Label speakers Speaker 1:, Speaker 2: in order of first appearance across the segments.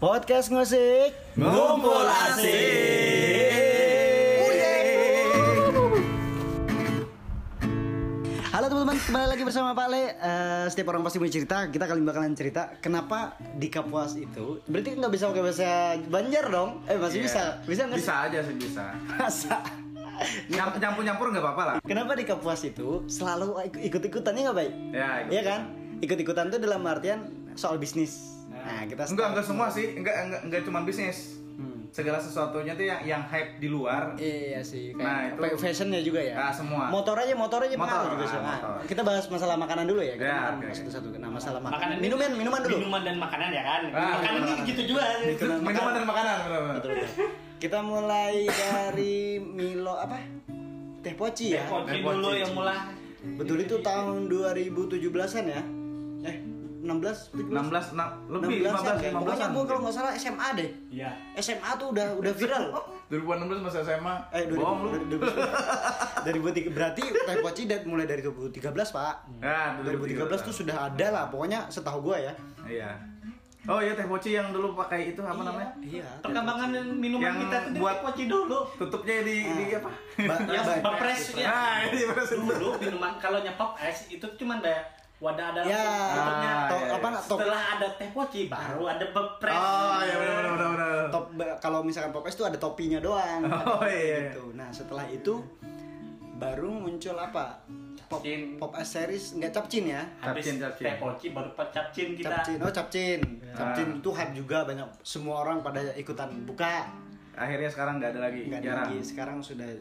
Speaker 1: Podcast ngosik.
Speaker 2: Ngumpul asik.
Speaker 1: Halo teman-teman, kembali lagi bersama Pak Le. Eh, setiap orang pasti punya cerita. Kita kali bakalan cerita kenapa di Kapuas itu. Berarti nggak bisa pakai bahasa Banjar dong? Eh masih
Speaker 2: Iya.
Speaker 1: bisa, bisa nggak? Iya.
Speaker 2: Bisa aja sih bisa.
Speaker 1: Masa?
Speaker 2: Nyam- Nyampur-nyampur nggak apa-apa lah.
Speaker 1: Kenapa di Kapuas itu selalu ikut-ikutannya nggak baik?
Speaker 2: Ya, ikut.
Speaker 1: Iya kan? Ikut-ikutan tuh dalam artian soal bisnis. Nah, kita
Speaker 2: Enggak enggak semua sih, enggak enggak enggak cuma bisnis. Segala sesuatunya tuh yang yang hype di luar.
Speaker 1: Hmm. Iya sih, kayak
Speaker 2: Nah,
Speaker 1: apa,
Speaker 2: itu-
Speaker 1: fashionnya juga ya.
Speaker 2: Ah, semua.
Speaker 1: Motor aja, motor aja
Speaker 2: Motor,
Speaker 1: pengaruh juga sih.
Speaker 2: ah,
Speaker 1: Nah,
Speaker 2: motor.
Speaker 1: kita bahas masalah makanan dulu ya. Kita
Speaker 2: Ya,
Speaker 1: makan
Speaker 2: oke.
Speaker 1: satu-satu. Nah, masalah
Speaker 3: Makanan
Speaker 1: makanan. Minuman, minuman dulu.
Speaker 3: Minuman dan makanan ya kan.
Speaker 2: Ah,
Speaker 3: makanan
Speaker 2: minuman.
Speaker 3: ini gitu juga.
Speaker 2: Itu Minuman dan makanan. benar-benar.
Speaker 1: Betul, betul. Kita mulai dari Milo apa? Teh poci ya.
Speaker 3: Ya, kopi
Speaker 2: Dan
Speaker 3: dulu
Speaker 2: kopi.
Speaker 3: yang mulai.
Speaker 1: Betul itu tahun 2017-an ya. Eh, 16, 17.
Speaker 2: 16 enam- lebih
Speaker 1: 16-an
Speaker 2: 15
Speaker 1: kayak.
Speaker 2: 15
Speaker 1: ya, Pokoknya gue kalau nggak salah SMA deh.
Speaker 3: Iya.
Speaker 1: SMA tuh udah udah viral.
Speaker 2: 2016 masa SMA.
Speaker 1: Eh, 2000,
Speaker 2: Bohong lu.
Speaker 1: 2003 berarti teh poci dan mulai dari 2013 pak.
Speaker 2: Ya,
Speaker 1: 2013 tuh sudah ada lah, pokoknya setahu gua ya.
Speaker 2: Iya. Oh iya teh poci yang dulu pakai itu apa namanya?
Speaker 1: Iya.
Speaker 3: Perkembangan minuman
Speaker 2: Yang
Speaker 3: kita tuh
Speaker 2: buat-
Speaker 3: buat kopi dulu.
Speaker 2: Tutupnya di di
Speaker 1: Ah.
Speaker 2: apa?
Speaker 1: Ba-
Speaker 3: Ya,
Speaker 1: ba-
Speaker 3: bapres ya.
Speaker 2: Nah, ini maksud gua.
Speaker 3: Dulu minuman kalau nyepop es itu cuman ada wadah ada
Speaker 1: Ya,
Speaker 3: tutupnya.
Speaker 2: Ah,
Speaker 1: to-
Speaker 2: iya,
Speaker 1: apa
Speaker 2: iya.
Speaker 1: nak, top
Speaker 3: Setelah ada teh poci baru ada bepres.
Speaker 2: Oh iya benar benar benar, benar.
Speaker 1: top ba- kalau misalkan pop es tuh ada topinya doang.
Speaker 2: Oh,
Speaker 1: Ada
Speaker 2: iya.
Speaker 1: Gitu. Nah, setelah itu baru muncul apa? Pop
Speaker 3: Capcin.
Speaker 1: pop es series nggak capcin ya?
Speaker 3: Habis
Speaker 2: Capcin, capcin.
Speaker 3: teh poci baru capcin kita.
Speaker 1: Capcin. Oh, capcin.
Speaker 2: Ya.
Speaker 1: Capcin itu hype juga banyak semua orang pada ikutan buka.
Speaker 2: Akhirnya sekarang nggak ada lagi.
Speaker 1: Nggak ada
Speaker 2: jarang.
Speaker 1: lagi. Sekarang sudah eh,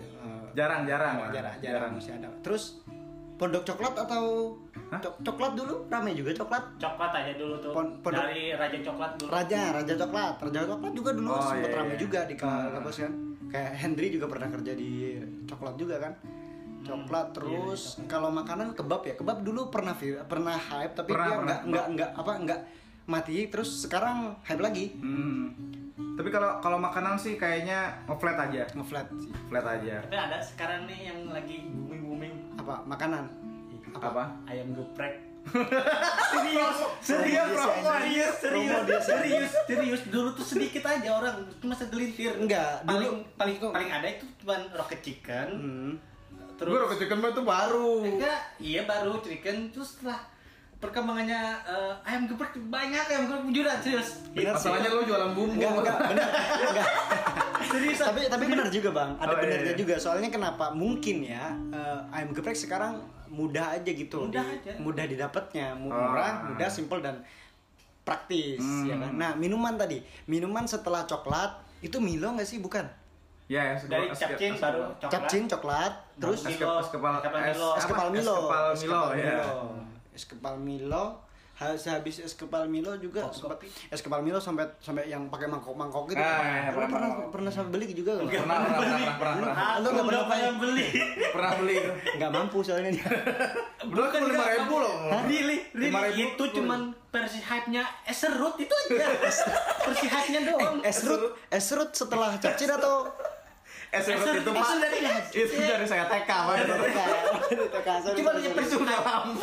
Speaker 2: Jarang, jarang.
Speaker 1: jarang, jarang,
Speaker 2: Jarang.
Speaker 1: masih ada. Terus pondok coklat atau
Speaker 2: Hah?
Speaker 1: Cok- coklat dulu ramai juga coklat.
Speaker 3: Coklat aja dulu tuh.
Speaker 1: Pon- pondok-
Speaker 3: Dari raja coklat dulu.
Speaker 1: Raja, Raja Coklat, Raja Coklat juga dulu
Speaker 2: Oh,
Speaker 1: sempat
Speaker 2: iya,
Speaker 1: rame
Speaker 2: iya.
Speaker 1: juga di ka-
Speaker 2: Hmm.
Speaker 1: kampus kan. Kayak Hendry juga pernah kerja di Coklat juga kan.
Speaker 2: Hmm,
Speaker 1: Coklat
Speaker 2: iya,
Speaker 1: terus kalau makanan kebab ya. Kebab dulu pernah vir- pernah hype tapi
Speaker 2: Pernah,
Speaker 1: dia
Speaker 2: pernah.
Speaker 1: nggak nggak nggak apa nggak mati terus sekarang hype lagi.
Speaker 2: Hmm. Tapi kalau kalau makanan sih kayaknya flat aja.
Speaker 1: Ngeflat sih.
Speaker 2: Flat aja.
Speaker 3: Tapi ada sekarang nih yang lagi booming-booming
Speaker 1: Apa makanan?
Speaker 2: Apa?
Speaker 3: ayam geprek serius
Speaker 2: Serius, Prof.
Speaker 3: serius serius
Speaker 1: Promo dia,
Speaker 3: serius serius serius dulu tuh sedikit aja orang cuma segelintir
Speaker 1: Enggak,
Speaker 3: paling
Speaker 1: dulu-
Speaker 3: paling paling ada itu cuma rocket chicken
Speaker 1: Hmm.
Speaker 3: terus
Speaker 2: Gue rocket chicken mah itu baru.
Speaker 3: enggak iya baru chicken terus setelah perkembangannya eh, ayam geprek banyak ayam geprek jualan serius
Speaker 1: Benar sih.
Speaker 2: Masalahnya lo jualan bumbu.
Speaker 1: Enggak,
Speaker 3: Oh.
Speaker 1: enggak, benar. Enggak.
Speaker 3: serius
Speaker 1: tapi tapi benar juga bang ada
Speaker 2: Oh, iya,
Speaker 1: benarnya
Speaker 2: iya.
Speaker 1: juga soalnya kenapa mungkin ya eh, ayam geprek sekarang mudah aja gitu
Speaker 3: Mudah
Speaker 1: di-
Speaker 3: aja.
Speaker 1: mudah didapatnya mu-
Speaker 2: Ah.
Speaker 1: murah mudah simple dan praktis
Speaker 2: Hmm.
Speaker 1: ya kan nah minuman tadi minuman setelah coklat itu Milo nggak sih bukan
Speaker 2: Ya, ya,
Speaker 3: dari
Speaker 2: es-
Speaker 3: capcin
Speaker 2: es-
Speaker 3: baru
Speaker 2: es-
Speaker 3: coklat
Speaker 1: capcin coklat terus
Speaker 2: es
Speaker 3: Milo.
Speaker 2: kepal es kepal
Speaker 3: Es kepal
Speaker 2: es-
Speaker 3: Milo.
Speaker 2: apa?
Speaker 1: es kepal Milo
Speaker 2: Es kepal
Speaker 1: Es
Speaker 2: Milo
Speaker 1: kepal
Speaker 2: ya.
Speaker 1: Milo. es kepal Milo Ha- sehabis es kepal Milo juga
Speaker 3: Kopi.
Speaker 1: sempat es kepal Milo sampai sampai yang pakai mangkok-mangkok gitu.
Speaker 2: Ah,
Speaker 1: Lu
Speaker 2: iya, pernah,
Speaker 1: pernah
Speaker 2: pernah.
Speaker 1: pernah sampai beli juga nggak?
Speaker 2: Pernah pernah pernah pernah pernah.
Speaker 1: Lu
Speaker 3: Aku
Speaker 1: nggak
Speaker 3: udah
Speaker 1: berapa ya?
Speaker 3: Ah, pernah beli
Speaker 2: Pernah beli.
Speaker 1: Nggak mampu soalnya dia.
Speaker 2: Belum kan lima ribu loh.
Speaker 3: Really, really
Speaker 2: 5.000.
Speaker 3: itu cuman versi hype-nya eh, serut itu aja. versi hype-nya doang.
Speaker 1: Eh, Esrut, Esrut setelah capcin atau
Speaker 2: Es serut itu
Speaker 3: Esrut
Speaker 2: pak.
Speaker 3: dari
Speaker 2: Itu dari saya TK pak.
Speaker 3: Cuma dia versi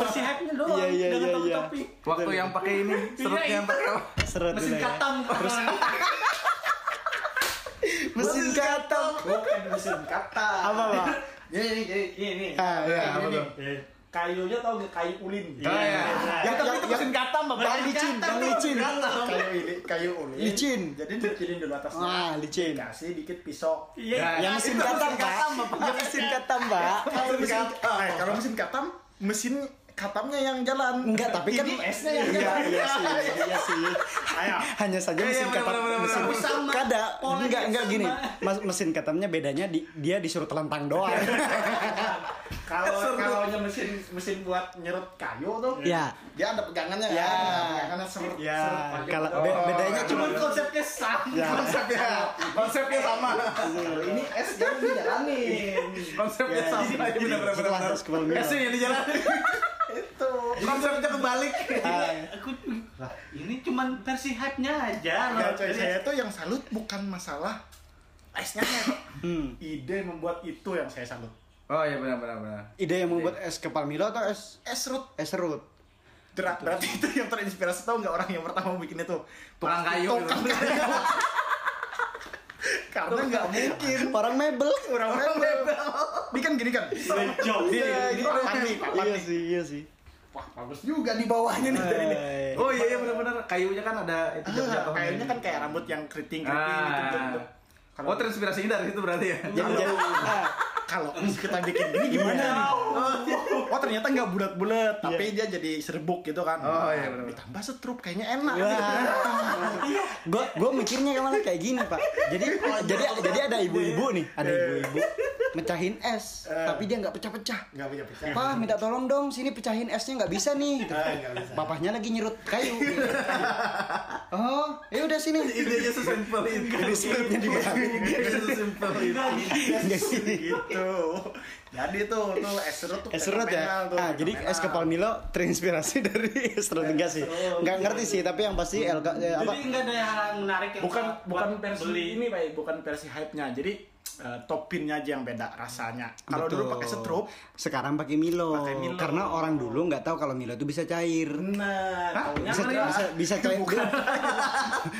Speaker 3: versi hype-nya doang
Speaker 1: Iya, iya, iya, iya.
Speaker 3: dengan
Speaker 1: ya.
Speaker 3: topi-topi.
Speaker 2: Waktu yang pakai
Speaker 3: Iya,
Speaker 2: ini serutnya yang pakai apa?
Speaker 1: Esrut
Speaker 3: Mesin katam
Speaker 1: Mesin katam.
Speaker 3: Bukan mesin kata.
Speaker 1: Apa, Pak?
Speaker 3: Ini ini ini.
Speaker 1: Ah, iya,
Speaker 2: apa
Speaker 3: Ini,
Speaker 2: tuh?
Speaker 3: ini. Kayunya tau gak kayu ulin.
Speaker 2: Oh, iya.
Speaker 1: Ya,
Speaker 3: Ya,
Speaker 1: tapi itu mesin
Speaker 3: katam
Speaker 1: Bang licin, bang licin. Iya.
Speaker 4: kayu ini kayu unik
Speaker 1: Licin.
Speaker 4: jadi dikilin dulu atasnya
Speaker 1: Ah, licin.
Speaker 4: kasih dikit pisau
Speaker 3: Iya.
Speaker 2: Ya,
Speaker 1: Yang mesin katam, Pak. Yang mesin katam, Pak.
Speaker 4: kalau mesin ah, eh, kalau mesin katam mesin katamnya yang jalan
Speaker 1: Enggak, tapi kan
Speaker 4: Ini esnya yang
Speaker 1: Iya,
Speaker 4: jalan
Speaker 1: iya sih, iya sih. Hanya saja
Speaker 2: Iya, iya,
Speaker 1: mesin
Speaker 2: benar,
Speaker 1: katam
Speaker 2: benar, benar.
Speaker 1: mesin
Speaker 3: Sama.
Speaker 1: kada
Speaker 3: Polanya
Speaker 1: enggak enggak
Speaker 3: sama.
Speaker 1: gini. Mas- mesin katamnya bedanya di, dia disuruh telentang doang.
Speaker 4: kalau kalau nya mesin mesin buat nyerut kayu tuh
Speaker 1: ya.
Speaker 4: dia ada pegangannya
Speaker 1: Ya.
Speaker 4: kan ada pegangannya serut
Speaker 1: Ya,
Speaker 4: serut pakai
Speaker 1: kalau
Speaker 4: pedang.
Speaker 1: be- bedanya cuma
Speaker 3: Cuman konsepnya sama.
Speaker 4: Iya.
Speaker 1: ya.
Speaker 2: Konsepnya konsepnya sama.
Speaker 4: Tuh, ini es yang dijalanin
Speaker 2: Konsepnya
Speaker 1: Ya,
Speaker 2: sama.
Speaker 1: jadi-
Speaker 2: Bener, bener,
Speaker 1: setelah
Speaker 2: bener.
Speaker 1: es kepal Milo.
Speaker 2: Esnya yang di jalan.
Speaker 4: itu
Speaker 2: Konsepnya kebalik.
Speaker 1: ah,
Speaker 3: Aku lah ini cuman versi hype-nya
Speaker 1: Iya,
Speaker 3: aja loh.
Speaker 4: Ya, coy, saya tuh yang salut bukan masalah esnya
Speaker 1: Hmm.
Speaker 4: ide membuat itu yang saya salut
Speaker 2: Oh iya benar benar benar.
Speaker 1: Ide yang membuat es kepal Milo atau es
Speaker 4: es serut
Speaker 1: es serut?
Speaker 4: Berat, berarti itu yang terinspirasi tau nggak orang yang pertama bikin itu?
Speaker 2: Tukang kayu gitu.
Speaker 4: Tukang kayu. Karena nggak mungkin
Speaker 1: Orang mebel.
Speaker 4: orang mebel. Ini kan gini kan. Ini
Speaker 2: Iya,
Speaker 4: ini kan. papan nih, papan
Speaker 1: Iya
Speaker 4: nih.
Speaker 1: sih, iya sih.
Speaker 4: Wah, bagus juga di bawahnya nih dari ini.
Speaker 1: Eh,
Speaker 2: Oh iya iya benar-benar kayunya kan ada itu
Speaker 4: Ah,
Speaker 2: jatuh-jatuh.
Speaker 4: Kayaknya kan kayak rambut yang keriting-keriting gitu.
Speaker 2: Ah.
Speaker 4: gitu. Kalau
Speaker 2: Oh terinspirasinya dari itu berarti ya.
Speaker 1: Jadi jadi ah,
Speaker 4: kalau kita bikin gini gimana
Speaker 2: Iya.
Speaker 4: nih? Oh ternyata nggak bulat-bulat, tapi dia jadi serbuk gitu kan.
Speaker 2: Oh, iya, benar-benar. Iya.
Speaker 4: Ditambah setrup kayaknya enak. gitu.
Speaker 1: Wah. Gue gue mikirnya kemana kayak gini pak. Jadi jadi jadi ada ibu-ibu nih, ada ibu-ibu mecahin es, tapi dia nggak pecah-pecah.
Speaker 4: Nggak punya pecah.
Speaker 2: Iya.
Speaker 1: Pak minta tolong dong sini pecahin esnya nggak bisa nih. Gitu.
Speaker 4: Ah, nggak bisa.
Speaker 1: Bapaknya lagi nyerut kayu. oh, ya udah sini.
Speaker 2: Ide aja sesimpel itu.
Speaker 1: Scriptnya dibayangin.
Speaker 2: Ide sesimpel itu.
Speaker 4: gitu. Jadi tuh tuh es serut tuh
Speaker 1: Es serut ya.
Speaker 4: fenomenal tuh,
Speaker 1: Ah, jadi
Speaker 4: fenomenal.
Speaker 1: es kepal Milo terinspirasi dari es serut enggak sih. Enggak ngerti sih, tapi yang pasti LK eh, apa?
Speaker 5: Jadi nggak ada yang menarik yang
Speaker 4: bukan
Speaker 5: buat
Speaker 4: bukan versi
Speaker 5: beli. Eh,
Speaker 4: ini Pak, ya, bukan versi hype-nya. Jadi eh, toppingnya aja yang beda rasanya. Kalau
Speaker 1: Betul.
Speaker 4: dulu pakai setrup,
Speaker 1: sekarang pakai Milo.
Speaker 4: Pakai Milo.
Speaker 1: Karena orang dulu nggak tahu kalau Milo itu bisa cair.
Speaker 4: nah, taunya
Speaker 1: Bisa
Speaker 4: kan
Speaker 1: bisa bisa cair.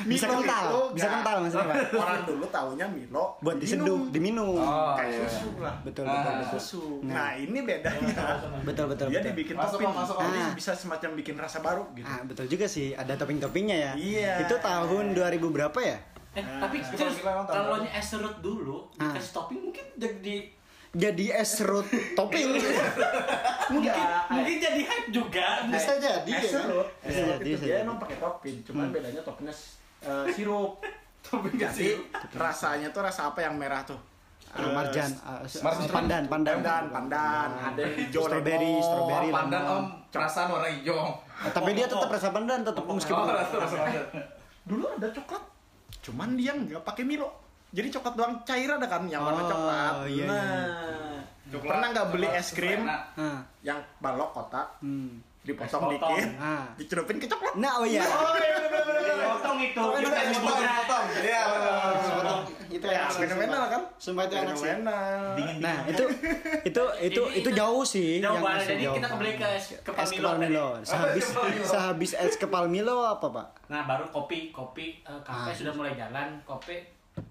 Speaker 1: bisa
Speaker 4: Milo
Speaker 1: kental,
Speaker 4: itu
Speaker 1: bisa
Speaker 4: nggak.
Speaker 1: kental maksudnya, Pak.
Speaker 4: orang dulu taunya Milo
Speaker 1: Buat diseduh,
Speaker 4: minum.
Speaker 1: diminum.
Speaker 2: Oh
Speaker 4: kayak
Speaker 2: iya.
Speaker 4: susu lah.
Speaker 1: Betul, betul,
Speaker 4: Kayak
Speaker 1: betul.
Speaker 4: Susu. Nah, ini bedanya.
Speaker 1: Betul, betul,
Speaker 4: Dia
Speaker 1: betul.
Speaker 4: dibikin
Speaker 2: Masuk,
Speaker 4: topping,
Speaker 2: Pak, masuk,
Speaker 1: Pak.
Speaker 4: jadi
Speaker 1: Ah.
Speaker 4: bisa semacam bikin rasa baru gitu.
Speaker 1: Ah, betul juga sih, ada topping-toppingnya ya.
Speaker 4: Iya.
Speaker 1: Itu tahun 2000 berapa ya?
Speaker 5: Eh, tapi terus
Speaker 2: kita emang tahu.
Speaker 5: kalau nya es serut dulu
Speaker 1: Ah.
Speaker 5: dikasih topping mungkin jadi
Speaker 1: Jadi es serut topping.
Speaker 4: Iya.
Speaker 5: mungkin
Speaker 4: Enggak,
Speaker 5: mungkin jadi hype juga.
Speaker 1: Bisa jadi
Speaker 4: es
Speaker 1: ya. kan?
Speaker 4: serut, es
Speaker 1: Bisa
Speaker 4: serut
Speaker 1: jadi.
Speaker 4: itu
Speaker 1: bisa
Speaker 4: dia
Speaker 1: jadi.
Speaker 4: emang pakai topping, cuman
Speaker 1: Hmm.
Speaker 4: bedanya toppingnya eh, sirup.
Speaker 2: Tapi nggak
Speaker 4: Jadi
Speaker 2: sih.
Speaker 4: rasanya tuh rasa apa yang merah tuh? Eh,
Speaker 1: Ah, Marjan, ah, s-
Speaker 2: Marjan.
Speaker 1: pandan, pandan. Ah.
Speaker 4: Pandan, pandan, ada yang hijau,
Speaker 1: Strawberry,
Speaker 4: lemon.
Speaker 1: strawberry.
Speaker 2: Oh, pandan om perasaan warna hijau.
Speaker 1: Ah, tapi dia tetap rasa pandan, tetap
Speaker 2: Oh,
Speaker 1: meskipun
Speaker 2: rasa rasa pandan.
Speaker 4: Dulu ada coklat, cuman dia nggak pakai Milo. Jadi coklat doang cair ada kan yang warna
Speaker 1: Oh,
Speaker 4: coklat.
Speaker 1: iya, iya.
Speaker 4: Nah,
Speaker 2: Coklat,
Speaker 4: pernah nggak beli
Speaker 2: coklat,
Speaker 4: es krim
Speaker 2: enak.
Speaker 1: Ah,
Speaker 4: yang balok kotak,
Speaker 1: hmm.
Speaker 4: dipotong
Speaker 5: Es potong.
Speaker 4: dikit,
Speaker 1: Ah.
Speaker 4: dicurupin ke coklat?
Speaker 1: Nah, oh iya.
Speaker 5: Potong itu.
Speaker 2: Itu
Speaker 5: Kita
Speaker 2: es
Speaker 5: nyebutin.
Speaker 2: potong, potong. Iya, benar.
Speaker 1: itu
Speaker 4: Ya,
Speaker 1: enak sih,
Speaker 4: fenomenal
Speaker 1: sumpah.
Speaker 4: kan?
Speaker 1: Sumpah itu enak sih.
Speaker 4: Fenomenal.
Speaker 1: Nah, itu itu itu
Speaker 5: Jadi
Speaker 1: itu
Speaker 5: itu
Speaker 1: jauh sih.
Speaker 5: Jauh
Speaker 1: yang
Speaker 5: banget.
Speaker 1: masih
Speaker 5: Jadi
Speaker 1: jauh.
Speaker 5: kita kembali ke es kepal
Speaker 1: es
Speaker 5: Milo
Speaker 1: kepal
Speaker 5: tadi.
Speaker 1: Milo. Sehabis sehabis es kepal Milo apa, Pak?
Speaker 5: Nah, baru kopi, kopi eh, kafe
Speaker 1: Ah.
Speaker 5: sudah mulai jalan, kopi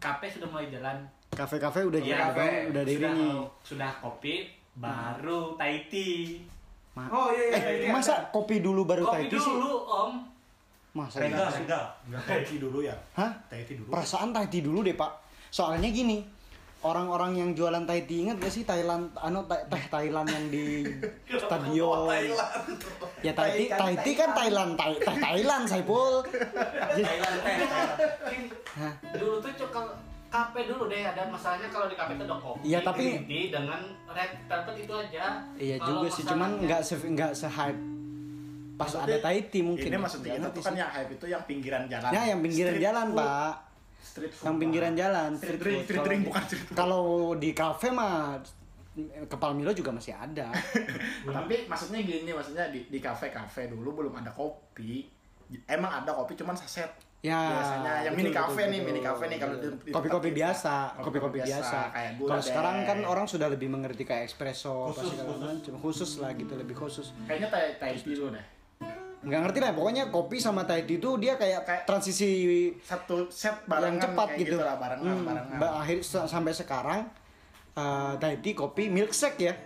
Speaker 5: kafe sudah mulai jalan.
Speaker 1: Kafe-kafe udah
Speaker 5: Iya,
Speaker 1: jadi
Speaker 2: kafe.
Speaker 1: udah
Speaker 5: sudah,
Speaker 1: dirinya.
Speaker 5: sudah kopi, baru Thai tea.
Speaker 1: Ma-
Speaker 2: Oh iya iya.
Speaker 1: eh,
Speaker 2: iya.
Speaker 1: masa kopi dulu baru
Speaker 5: Kopi
Speaker 1: Thai tea sih?
Speaker 5: dulu, Om.
Speaker 1: Masa iya
Speaker 3: Regal,
Speaker 1: sih?
Speaker 3: regal.
Speaker 4: Taiti dulu ya.
Speaker 1: Hah?
Speaker 4: Taiti dulu.
Speaker 1: Perasaan Thai tea dulu deh, Pak. Soalnya gini, orang-orang yang jualan Thai tea inget gak sih Thailand anu Thai- teh Thailand yang di stadion
Speaker 3: Oh,
Speaker 1: ya Thai tea, Thai tea kan Thailand Thai, teh Thailand Saipul
Speaker 5: Thailand teh.
Speaker 1: Hah?
Speaker 5: dulu tuh cukup kafe dulu deh ada masalahnya kalau di kafe itu ada kopi
Speaker 1: Iya, tapi-
Speaker 5: green tea dengan red velvet itu aja
Speaker 1: Iya
Speaker 5: Kalau
Speaker 1: juga sih, cuman
Speaker 5: masalahnya-
Speaker 1: nggak se nggak se hype pas ada Taiti mungkin.
Speaker 4: Ini
Speaker 1: ya.
Speaker 4: maksudnya
Speaker 1: Nggak
Speaker 4: itu
Speaker 1: ngerti
Speaker 4: kan
Speaker 1: sih.
Speaker 4: yang hype itu yang pinggiran jalan.
Speaker 1: Nah, yang pinggiran
Speaker 4: Street
Speaker 1: jalan,
Speaker 4: food.
Speaker 1: Pak.
Speaker 4: Street food.
Speaker 1: Yang pinggiran jalan.
Speaker 4: Street
Speaker 1: street food.
Speaker 4: drink, street
Speaker 1: Kalau
Speaker 4: drink,
Speaker 1: di-
Speaker 4: bukan street food.
Speaker 1: Kalau di kafe mah kepal Milo juga masih ada.
Speaker 4: Tapi maksudnya gini, maksudnya di di kafe-kafe dulu belum ada kopi. Emang ada kopi cuman saset.
Speaker 1: Ya,
Speaker 4: biasanya yang
Speaker 1: betul,
Speaker 4: mini kafe
Speaker 1: betul,
Speaker 4: nih,
Speaker 1: betul.
Speaker 4: mini kafe nih kalau di- di
Speaker 1: kopi-kopi
Speaker 4: tempat kita.
Speaker 1: biasa, kopi-kopi biasa.
Speaker 4: kayak gula
Speaker 1: Kalau
Speaker 4: deh.
Speaker 1: sekarang kan orang sudah lebih mengerti kayak espresso, apa
Speaker 3: Khusus,
Speaker 1: segala
Speaker 3: khusus.
Speaker 1: macam. khusus lah gitu, lebih khusus.
Speaker 4: kayaknya tai tai tea dulu deh.
Speaker 1: Nggak ngerti lah, pokoknya kopi sama Taiti itu dia kayak
Speaker 4: Kayak-
Speaker 1: transisi
Speaker 4: Satu set
Speaker 1: yang
Speaker 4: barengan
Speaker 1: cepat
Speaker 4: kayak
Speaker 1: gitu.
Speaker 4: lah barengan,
Speaker 1: Hmm,
Speaker 4: barengan.
Speaker 1: ba- akhir sa- sampai sekarang eh Thai tea, kopi, milkshake ya.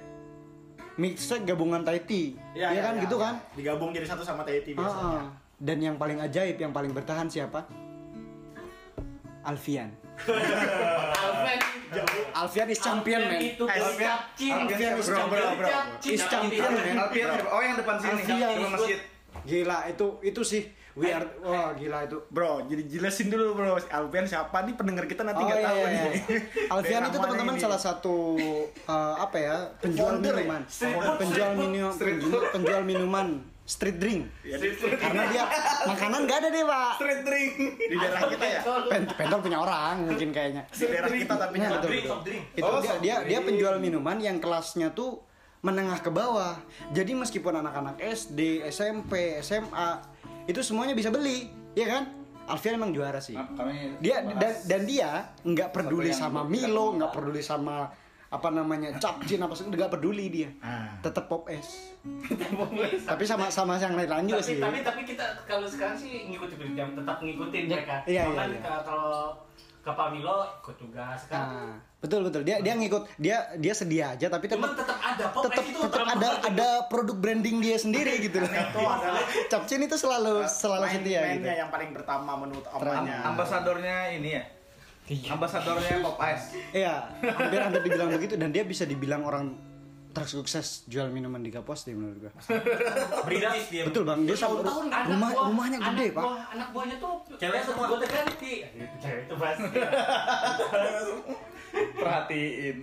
Speaker 1: Milkshake gabungan Thai tea. Iya
Speaker 4: Iya,
Speaker 1: kan
Speaker 4: iya,
Speaker 1: gitu
Speaker 4: iya.
Speaker 1: kan?
Speaker 4: Digabung jadi satu sama tai tea
Speaker 1: Ah,
Speaker 4: biasanya.
Speaker 1: ah. Dan yang paling ajaib, yang paling bertahan siapa? Alfian.
Speaker 5: Alven
Speaker 1: Alfian is champion,
Speaker 5: Alven
Speaker 1: man.
Speaker 5: itu
Speaker 4: Alven-
Speaker 5: capcin
Speaker 1: Alfian is
Speaker 2: Bro, bro,
Speaker 1: champion.
Speaker 2: bro.
Speaker 5: capcin
Speaker 1: Is champion, man.
Speaker 2: Alfian, oh yang depan sini,
Speaker 1: Alfian.
Speaker 2: depan masjid.
Speaker 1: Gila, itu itu sih we are wah gila itu.
Speaker 4: Bro, jadi jelasin dulu bro, Alfian siapa nih pendengar kita nanti
Speaker 1: Oh,
Speaker 2: Kan
Speaker 4: nggak
Speaker 1: iya,
Speaker 4: tahu
Speaker 2: ya.
Speaker 1: iya,
Speaker 4: nih.
Speaker 1: iya. Alfian
Speaker 4: Daerah
Speaker 1: itu
Speaker 4: mana
Speaker 1: teman-teman
Speaker 4: ini?
Speaker 1: salah satu eh, apa ya penjual
Speaker 4: Founder ya?
Speaker 1: minuman,
Speaker 5: Street food, street
Speaker 1: penjual
Speaker 5: food,
Speaker 1: minuman,
Speaker 2: street food.
Speaker 1: penjual minuman, street drink.
Speaker 4: Ya, di,
Speaker 1: Karena dia makanan gak ada deh pak.
Speaker 2: Street drink.
Speaker 4: di daerah kita ya,
Speaker 1: Pen Pentol punya orang mungkin kayaknya.
Speaker 4: di daerah kita tapi
Speaker 1: Nah,
Speaker 4: nyala.
Speaker 1: betul,
Speaker 3: drink,
Speaker 1: betul.
Speaker 3: soft drink.
Speaker 1: Itu
Speaker 2: Oh,
Speaker 1: dia,
Speaker 2: soft
Speaker 1: dia dia
Speaker 2: drink.
Speaker 1: penjual minuman yang kelasnya tuh menengah ke bawah. Jadi meskipun anak-anak SD, SMP, SMA itu semuanya bisa beli, ya kan? Alfian emang juara sih.
Speaker 2: Maaf, kami
Speaker 1: Dia dan,
Speaker 2: bahas
Speaker 1: dan dia nggak peduli
Speaker 2: yang
Speaker 1: sama
Speaker 2: belum kita
Speaker 1: Milo,
Speaker 2: kenal.
Speaker 1: nggak peduli sama apa namanya capcin apa sih nggak peduli dia
Speaker 4: Ah.
Speaker 1: tetap pop es
Speaker 3: tapi,
Speaker 1: tapi sama sama yang lain-lain Iya, juga
Speaker 3: tapi,
Speaker 1: sih Ah. Iya,
Speaker 3: tapi tapi kita kalau sekarang sih ngikutin berjam tetap ngikutin mereka.
Speaker 1: iya,
Speaker 3: Cuman
Speaker 1: iya, iya.
Speaker 3: ka- kalau ke Pamilo ikut tugas kan.
Speaker 1: Nah, betul betul dia dia ngikut dia dia sedia aja tapi
Speaker 3: Cuman
Speaker 1: tetap
Speaker 3: tetap ada pop
Speaker 1: tetap
Speaker 3: itu
Speaker 1: tetap
Speaker 3: drama.
Speaker 1: ada ada produk branding dia sendiri gitu loh. Capcin itu selalu selalu
Speaker 4: Main-
Speaker 1: setia gitu.
Speaker 4: mainnya yang paling pertama menurut omanya
Speaker 2: Ambasadornya ini ya. Ambasadornya Popeyes.
Speaker 1: Iya, hampir hampir dibilang begitu dan dia bisa dibilang orang tersukses jual minuman di Kapos deh menurut gua.
Speaker 3: Beridas dia.
Speaker 1: Betul Bang, dia sama
Speaker 3: Tahun-tahun anak
Speaker 1: rumah
Speaker 3: buah-
Speaker 1: rumahnya gede,
Speaker 3: anak
Speaker 1: Pak.
Speaker 3: buah- anak buahnya tuh
Speaker 5: Cewek semua.
Speaker 3: gue ganti. Iya, Cewek itu pasti.
Speaker 2: Perhatiin.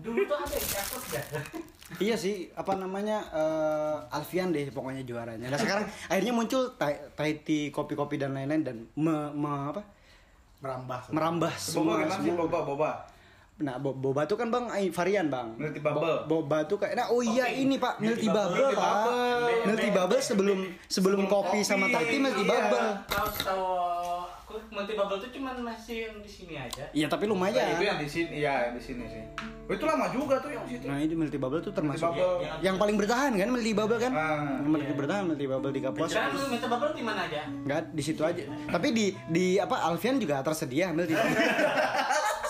Speaker 3: Dulu tuh ada yang ya. cakep dah.
Speaker 1: Iya sih, apa namanya eh, Alfian deh pokoknya juaranya. Nah sekarang akhirnya muncul Thai Thai tea, kopi-kopi dan lain-lain dan me, me- apa
Speaker 4: merambah
Speaker 1: merambah
Speaker 2: Boba
Speaker 1: semua.
Speaker 2: gimana sih
Speaker 1: semua.
Speaker 2: Boba Boba?
Speaker 1: Nah bo- boba tuh kan bang eh, varian bang.
Speaker 2: Milky Bubble.
Speaker 1: Bo- boba tuh kayak nah oh iya ini pak Milky Bubble
Speaker 2: Milky
Speaker 1: pak.
Speaker 2: Bubble.
Speaker 1: Milky Bubble sebelum sebelum kopi sama
Speaker 2: kopi.
Speaker 1: Thai tea Milky
Speaker 2: Iya.
Speaker 1: Bubble.
Speaker 3: Tahu tahu aku multi bubble tuh cuman masih yang di sini aja.
Speaker 1: Iya tapi
Speaker 2: Nah, itu
Speaker 1: lumayan.
Speaker 2: yang di sini, iya di sini sih. Oh, itu lama juga tuh yang situ.
Speaker 1: Nah ini Milky Bubble tuh termasuk
Speaker 2: Bubble.
Speaker 1: yang- yang paling bertahan kan Milky Bubble kan?
Speaker 2: Ah,
Speaker 1: Yang Milky bertahan Milky Bubble di Kapos.
Speaker 3: Jangan lu minta bubble di mana aja?
Speaker 1: Enggak di situ aja. Tapi di di apa Alfian juga tersedia Milky Bubble.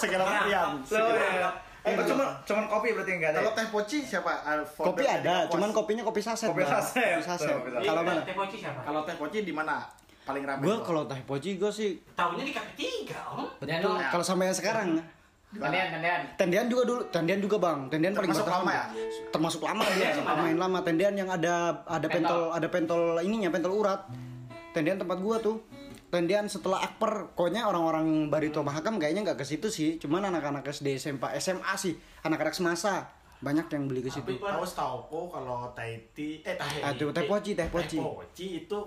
Speaker 4: segala varian
Speaker 2: So, ya. Eh, cuma cuman kopi berarti enggak ada.
Speaker 4: kalau
Speaker 2: ya?
Speaker 4: teh poci siapa Al-
Speaker 1: kopi
Speaker 4: folder
Speaker 1: ada,
Speaker 4: dari
Speaker 1: cuman
Speaker 4: Kapos.
Speaker 1: kopinya kopi saset.
Speaker 2: Kopi
Speaker 1: Bang.
Speaker 2: saset.
Speaker 1: Kopi saset.
Speaker 2: Kopi saset.
Speaker 1: Kalau
Speaker 3: Di-
Speaker 1: mana?
Speaker 3: Teh Poci siapa?
Speaker 4: kalau teh poci di mana paling ramai
Speaker 1: Gue
Speaker 4: tuh?
Speaker 1: kalau teh poci gue sih
Speaker 3: Tahunnya di kaki tiga, om.
Speaker 1: betul. Kalau sampai yang sekarang.
Speaker 3: Kandian, kandian.
Speaker 1: Tendian juga dulu, tendian juga bang, tendian paling
Speaker 4: Termasuk
Speaker 1: bertahan,
Speaker 4: lama
Speaker 2: ya?
Speaker 1: Bang. Termasuk lama dia, pemain lama. Tendian yang ada ada pentol, ada pentol ininya, pentol urat. Tendian tempat gua tuh. Tendian setelah Akper, pokoknya orang-orang Barito Mahakam kayaknya nggak ke situ sih, cuman anak-anak SD SMP SMA sih, anak-anak semasa banyak yang beli ke situ.
Speaker 4: tahu tahu oh kalau Taiti eh Tahe
Speaker 1: Aduh, teh poci, teh poci.
Speaker 4: itu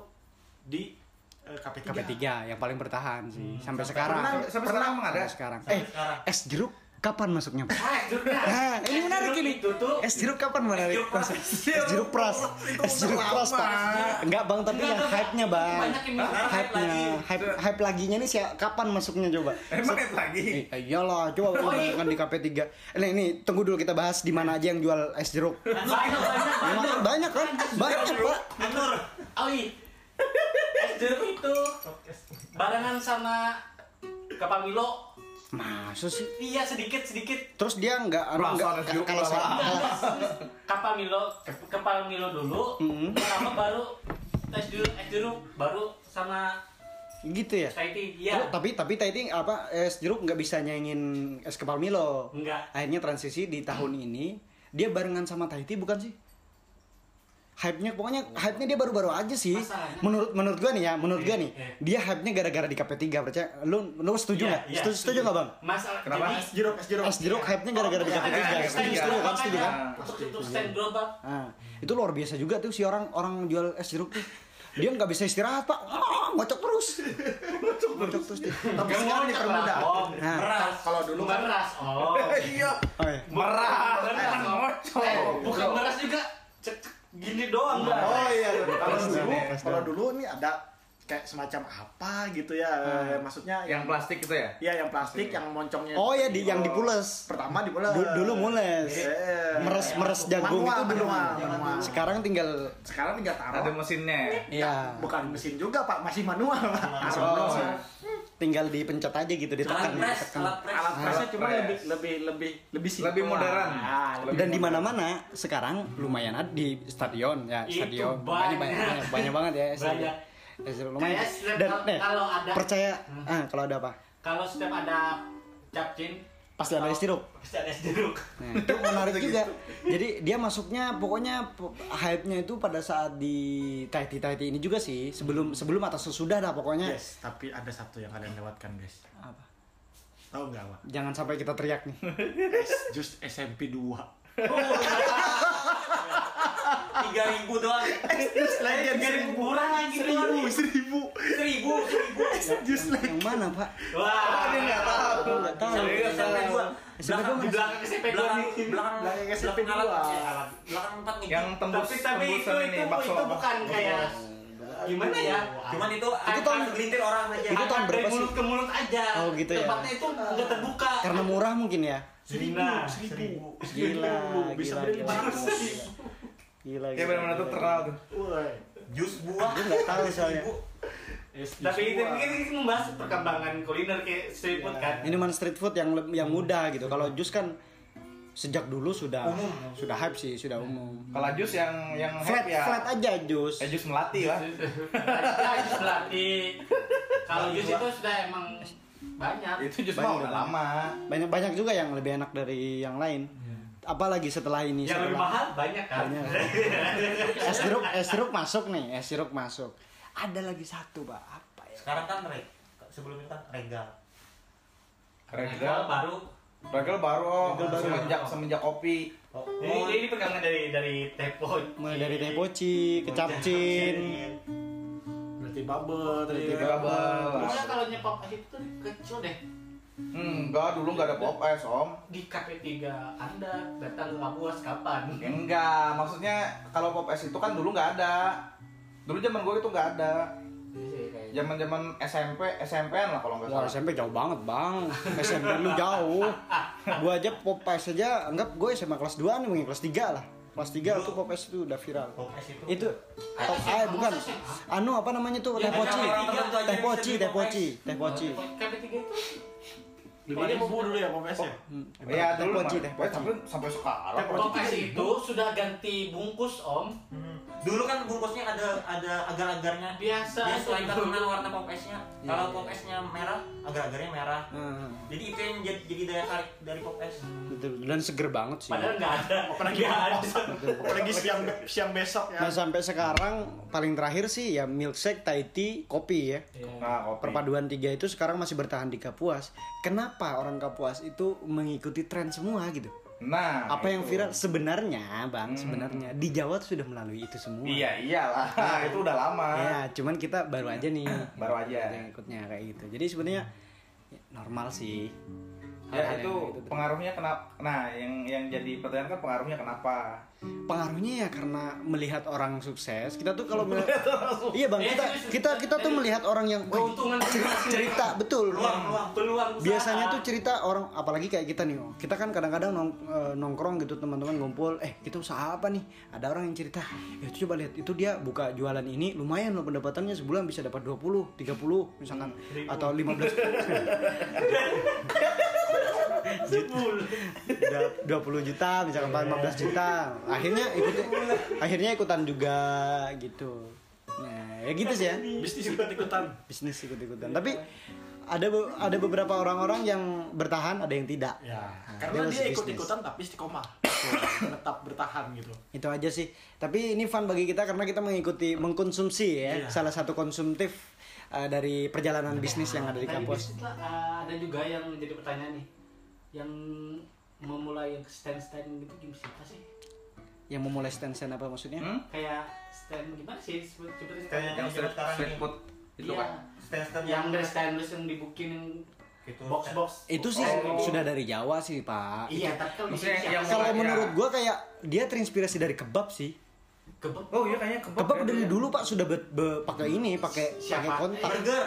Speaker 4: di eh, KP3.
Speaker 1: KP3 yang paling bertahan sih sampai, sekarang.
Speaker 2: sekarang. Sampai- sampai sekarang emang ada?
Speaker 1: Sampai sekarang. Eh, es jeruk kapan masuknya? Pak?
Speaker 3: Ah, Jurnas.
Speaker 1: Nah, ini
Speaker 3: Es
Speaker 1: menarik
Speaker 3: jeruk
Speaker 1: ini. Eh,
Speaker 3: Itu tuh.
Speaker 1: Es jeruk kapan menarik?
Speaker 3: jeruk pras.
Speaker 1: Masuk? Es jeruk pras. Es jeruk pras, Pak. Enggak, Bang, tapi
Speaker 3: Enggak,
Speaker 1: yang
Speaker 3: enggak.
Speaker 1: hype-nya, Bang.
Speaker 3: Banyak yang bilang hype
Speaker 1: Hype-nya,
Speaker 3: lagi.
Speaker 1: hype hype laginya nih siap- kapan masuknya coba?
Speaker 2: Emang itu lagi.
Speaker 1: Eh, iyalah, coba
Speaker 3: Oh, iya.
Speaker 1: kan di KP3. Nih, nih, tunggu dulu kita bahas di mana aja yang jual es jeruk.
Speaker 3: Banyak, banyak, Oh,
Speaker 1: Memang
Speaker 3: banyak.
Speaker 1: kan banyak kan? Banyak, Pak.
Speaker 3: Anur, Awi. Es jeruk iya. Eh, itu barengan sama Kapamilo.
Speaker 1: Masa sih?
Speaker 3: Iya sedikit sedikit.
Speaker 1: Terus dia nggak
Speaker 2: Rasa
Speaker 1: nggak
Speaker 2: es jeruk
Speaker 1: kalau
Speaker 2: berapa?
Speaker 1: saya
Speaker 3: Kapamilo, Kapamilo dulu.
Speaker 1: Mm-hmm.
Speaker 3: Sama baru es jeruk, es jeruk baru sama
Speaker 1: gitu ya.
Speaker 3: Taiti.
Speaker 1: Oh,
Speaker 3: Iya.
Speaker 1: tapi tapi Taiti apa es jeruk nggak bisa nyanyiin es kepal Milo.
Speaker 3: Enggak.
Speaker 1: Akhirnya transisi di tahun ini dia barengan sama Taiti bukan sih? Hype-nya pokoknya hype-nya dia baru-baru aja sih.
Speaker 3: Masalahnya-
Speaker 1: Menurut menurut gua nih ya, menurut gua
Speaker 3: Iya,
Speaker 1: nih,
Speaker 3: iya.
Speaker 1: dia hype-nya gara-gara di KP3 percaya. Lu lu setuju nggak?
Speaker 3: Iya, iya,
Speaker 1: setuju, setuju nggak, Bang?
Speaker 3: Masalah
Speaker 2: Kenapa?
Speaker 3: jadi-
Speaker 4: Es jeruk, es jeruk.
Speaker 1: Es jeruk hype-nya gara-gara di
Speaker 3: Iya,
Speaker 1: KP3.
Speaker 3: iya, iya,
Speaker 1: Setuju,
Speaker 3: iya.
Speaker 1: setuju kan?
Speaker 3: Makanya,
Speaker 1: Setuju kan?
Speaker 3: Untuk untuk stand global.
Speaker 1: Nah, itu luar biasa juga tuh si orang orang jual es jeruk tuh. Dia nggak bisa istirahat, Pak. Ah, ngocok terus. ngocok terus. dia.
Speaker 4: Tapi sekarang dipermudah.
Speaker 1: Nah.
Speaker 3: Om. Oh, Meras.
Speaker 4: Kalau dulu kan-
Speaker 3: meras. Oh.
Speaker 2: Iya.
Speaker 1: Oh, iya.
Speaker 3: Meras. Meras. Om.
Speaker 2: Ngocok.
Speaker 3: Eh, Bukan meras juga. Cek cek, gini doang lah.
Speaker 4: Oh iya, kalau
Speaker 1: Plastik,
Speaker 4: dulu
Speaker 1: plastik.
Speaker 4: kalau dulu ini ada kayak semacam apa gitu ya. eh, Maksudnya
Speaker 2: Yang plastik itu ya?
Speaker 4: Iya, yang plastik yang moncongnya.
Speaker 1: Hmm. Oh ya di yang dipules.
Speaker 4: Pertama dipules.
Speaker 1: Du- dulu mules.
Speaker 4: Iya.
Speaker 1: Meres meres jagung
Speaker 4: Manual,
Speaker 1: itu dulu.
Speaker 4: manual, manual.
Speaker 1: Sekarang tinggal
Speaker 4: Sekarang tinggal taruh.
Speaker 2: Ada mesinnya. ya?
Speaker 1: ya
Speaker 4: Bukan mesin juga, Pak. Masih manual, Pak. Masih Iya. manual.
Speaker 2: Oh.
Speaker 1: tinggal dipencet aja gitu
Speaker 3: Alat
Speaker 1: ditekan.
Speaker 3: press.
Speaker 1: ditekan.
Speaker 3: Alat press.
Speaker 4: Alat
Speaker 2: press.
Speaker 4: presnya cuma lebih lebih lebih lebih simpel
Speaker 2: Lebih
Speaker 4: lah.
Speaker 2: modern.
Speaker 4: Ah, lebih
Speaker 1: Dan di mana-mana sekarang lumayan ada di stadion ya,
Speaker 3: Itu
Speaker 1: stadion.
Speaker 3: banyak.
Speaker 1: Banyak banyak banyak, banyak banget ya.
Speaker 3: Banyak.
Speaker 1: Ya, lumayan.
Speaker 3: Kayak setiap
Speaker 1: Dan
Speaker 3: kal-
Speaker 1: eh,
Speaker 3: kalau ada-
Speaker 1: percaya ah kalau ada apa?
Speaker 3: Kalau setiap ada capcin.
Speaker 1: Pasti ada
Speaker 3: kalau-
Speaker 1: es jeruk.
Speaker 3: Pasti ada es jeruk.
Speaker 1: Nah, itu menarik juga. Jadi dia masuknya pokoknya po- hype-nya itu pada saat di Tahiti Tahiti ini juga sih, sebelum sebelum atau sesudah lah pokoknya.
Speaker 4: Yes, tapi ada satu yang kalian lewatkan, guys.
Speaker 1: Apa?
Speaker 4: Tahu nggak, Pak?
Speaker 1: Jangan sampai kita teriak nih.
Speaker 4: Es jus SMP 2.
Speaker 3: Tiga ribu doang. Eh,
Speaker 4: Jus legend
Speaker 3: Tiga ribu murah lagi doang.
Speaker 4: seribu, seribu.
Speaker 3: Seribu. Seribu.
Speaker 4: Es jus legend.
Speaker 1: Yang mana, Pak?
Speaker 3: Wah. Dia nggak tahu.
Speaker 1: Nggak tahu.
Speaker 3: SMP dua.
Speaker 1: SMP dua
Speaker 3: Belakang di
Speaker 1: mana?
Speaker 3: belakang SMP
Speaker 5: Belakang belakang belakang
Speaker 3: dua.
Speaker 4: Belakang SMP
Speaker 5: alat-
Speaker 4: dua.
Speaker 5: ya, alat- belakang empat nih.
Speaker 2: Yang tembus
Speaker 3: tapi tapi itu
Speaker 2: tembusan ini
Speaker 3: itu,
Speaker 2: bakso
Speaker 3: itu
Speaker 2: apa?
Speaker 3: bukan kayak gimana ya cuman itu
Speaker 1: Itu tahun-
Speaker 3: segelintir orang aja
Speaker 1: itu tahun
Speaker 3: Akan
Speaker 1: berapa
Speaker 3: dari mulut
Speaker 1: sih?
Speaker 3: ke mulut aja
Speaker 1: Oh, gitu ya.
Speaker 3: tempatnya itu nggak terbuka
Speaker 1: Karena murah mungkin ya.
Speaker 3: Nah,
Speaker 4: seribu
Speaker 1: Gila,
Speaker 4: bisa
Speaker 1: gila,
Speaker 4: beli
Speaker 1: gila.
Speaker 4: lima ratus
Speaker 1: Gila.
Speaker 2: Ya benar-benar tuh terkenal tuh.
Speaker 4: Woi.
Speaker 3: jus buah
Speaker 1: Gue nggak tahu soalnya.
Speaker 3: tapi itu
Speaker 2: Iya.
Speaker 3: mungkin ini membahas perkembangan kuliner kayak street food kan
Speaker 2: Iya.
Speaker 1: Minuman street food yang leb- yang mudah gitu. Kalau jus kan sejak dulu sudah sudah hype sih,
Speaker 4: Nah.
Speaker 1: sudah umum.
Speaker 2: Kalau jus yang yang
Speaker 1: Flat
Speaker 2: hype ya,
Speaker 1: flat aja jus.
Speaker 4: Eh,
Speaker 2: ya jus melati lah.
Speaker 3: Ada jus melati kalau jus itu sudah emang banyak
Speaker 2: Itu jus kan? mah udah lama.
Speaker 1: Banyak banyak juga yang lebih enak dari yang lain. Apalagi setelah ini
Speaker 3: Iya. yang lebih
Speaker 1: setelah-
Speaker 3: mahal banyak kan
Speaker 1: Banyak. es jeruk es jeruk masuk nih es jeruk masuk ada lagi satu pak apa ya
Speaker 6: Sekarang kan reg, sebelum itu kan regal.
Speaker 3: Regal
Speaker 2: Regal,
Speaker 3: baru
Speaker 2: regal baru oh,
Speaker 1: Regal baru.
Speaker 2: semenjak semenjak kopi.
Speaker 6: oh,
Speaker 3: ini, ini perkembangan dari dari tepo Iya.
Speaker 1: mulai dari tepoci kecapcin
Speaker 4: Berarti bubble tadi.
Speaker 1: Berarti
Speaker 4: ya.
Speaker 2: bubble.
Speaker 3: Pokoknya kalau nyepop es itu tuh kecil deh
Speaker 2: Hmm, enggak dulu enggak ada pop es, Om.
Speaker 3: di KP3 Anda datang nggak puas kapan?
Speaker 2: Enggak, maksudnya kalau pop es itu kan dulu nggak ada. Dulu zaman gue itu nggak ada.
Speaker 1: Ya,
Speaker 2: Zaman-zaman SMP, SMPan lah kalau nggak
Speaker 1: Wah
Speaker 2: salah.
Speaker 1: SMP jauh banget bang SMP lu jauh Gua aja pop ice aja Anggap gue SMA kelas 2 nih mungkin kelas 3 lah Kelas 3 tuh pop ice itu udah viral
Speaker 6: Pop es itu.
Speaker 1: Itu Pop eh bukan Anu apa namanya tuh
Speaker 6: Ya,
Speaker 1: Tepoci
Speaker 6: orang tertentu aja yang
Speaker 1: Tepoci
Speaker 6: bisa beli Pop
Speaker 1: Tepoci
Speaker 6: Ice.
Speaker 1: Tepoci
Speaker 3: KP3 itu
Speaker 4: Lima ribu dulu ya Popes ya.
Speaker 1: Hmm.
Speaker 2: Iya, dulu
Speaker 1: Tepoci
Speaker 2: mah. Eh,
Speaker 1: Tepoci
Speaker 2: tapi sampai sekarang.
Speaker 3: pop es itu sudah ganti bungkus om
Speaker 6: Hmm. Dulu kan bungkusnya ada ada agar-agarnya.
Speaker 3: Iya, biasa
Speaker 6: Dia
Speaker 3: itu
Speaker 6: selain karena
Speaker 3: dulu.
Speaker 6: warna pop esnya.
Speaker 1: Iya,
Speaker 6: Kalau
Speaker 1: iya.
Speaker 6: pop esnya merah, agar-agarnya merah.
Speaker 1: Hmm,
Speaker 6: Jadi itu yang jadi, jadi daya tarik dari pop es.
Speaker 1: betul. Dan seger banget sih
Speaker 2: ya.
Speaker 3: padahal nggak ada nggak ada
Speaker 4: Apalagi siang siang besok ya.
Speaker 1: Nah sampai sekarang paling terakhir sih ya milkshake, Thai tea, kopi ya.
Speaker 3: Iya.
Speaker 2: Nah, kopi.
Speaker 1: Perpaduan tiga itu sekarang masih bertahan di Kapuas. Kenapa orang Kapuas itu mengikuti tren semua gitu?
Speaker 2: Nah,
Speaker 1: Apa yang
Speaker 2: itu. Hmm.
Speaker 1: viral sebenarnya, Bang? Sebenarnya di Jawa tuh sudah melalui itu semua.
Speaker 2: Iya, iyalah.
Speaker 1: Nah,
Speaker 2: itu udah lama.
Speaker 1: Ya, cuman kita baru aja nih.
Speaker 2: Iya. Baru aja.
Speaker 1: Yang ikutnya kayak gitu. Jadi sebenarnya ya, normal sih.
Speaker 2: Ya
Speaker 1: Hal-hal
Speaker 2: itu
Speaker 1: yang kayak gitu.
Speaker 2: pengaruhnya kenapa? Nah, yang yang jadi pertanyaan kan pengaruhnya kenapa?
Speaker 1: pengaruhnya ya karena melihat orang sukses kita tuh kalau melihat iya bang
Speaker 3: Iya,
Speaker 1: kita
Speaker 3: serius,
Speaker 1: kita
Speaker 3: serius.
Speaker 1: kita tuh
Speaker 3: Dari
Speaker 1: melihat orang yang "Wih,
Speaker 3: keuntungan
Speaker 1: cerita betul
Speaker 3: peluang peluang peluang usaha.
Speaker 1: biasanya tuh cerita orang apalagi kayak kita nih oh. kita kan kadang-kadang nong- eh, nongkrong gitu teman-teman ngumpul eh kita usaha apa nih ada orang yang cerita ya itu coba lihat itu dia buka jualan ini lumayan loh pendapatannya sebulan bisa dapat 20 30 misalkan atau 15 Dap- 20 juta misalkan 15 juta akhirnya ikut akhirnya ikutan juga gitu nah ya gitu sih ya
Speaker 4: Bisnis ikut-ikutan.
Speaker 1: bisnis ikut-ikutan tapi ada be- ada beberapa orang-orang yang bertahan ada yang tidak
Speaker 4: Ya,
Speaker 1: Nah,
Speaker 4: karena
Speaker 1: masih
Speaker 4: dia
Speaker 1: bisnis.
Speaker 4: ikut-ikutan tapi istiqomah. Tetap bertahan gitu.
Speaker 1: itu aja sih tapi ini fun bagi kita karena kita mengikuti mengkonsumsi ya
Speaker 4: Iya.
Speaker 1: salah satu konsumtif eh, dari perjalanan bisnis yang ada di
Speaker 3: Tadi
Speaker 1: kampus
Speaker 3: bisnis lah, eh, ada juga yang jadi pertanyaan nih yang memulai yang stand stand gitu gimana sih? Apa sih
Speaker 1: yang memulai stand stand apa
Speaker 6: Iya.
Speaker 1: maksudnya
Speaker 2: Hmm?
Speaker 3: kayak stand gimana sih sebut sebutnya
Speaker 6: Kayak
Speaker 2: Yang
Speaker 6: yang
Speaker 2: street,
Speaker 6: Iya, sekarang
Speaker 2: street
Speaker 6: ini.
Speaker 2: food itu
Speaker 3: Iya.
Speaker 2: kan.
Speaker 6: Stand-stand
Speaker 3: yang dari stainless yang dibukin yang
Speaker 6: Gitu.
Speaker 3: box box
Speaker 1: itu sih
Speaker 2: Oh.
Speaker 1: sudah dari Jawa sih pak
Speaker 3: iya tapi kalau di
Speaker 2: Maksudnya
Speaker 3: sini
Speaker 2: yang-
Speaker 1: kalau
Speaker 2: Mulai, ya.
Speaker 1: menurut gua kayak dia terinspirasi dari kebab sih
Speaker 3: kebab
Speaker 2: Oh iya kayaknya kebab.
Speaker 1: kebab
Speaker 2: ya,
Speaker 1: dari
Speaker 2: ya.
Speaker 1: dulu pak sudah be- be- pakai ini pakai
Speaker 3: Siapa?
Speaker 1: pakai kontak
Speaker 6: burger.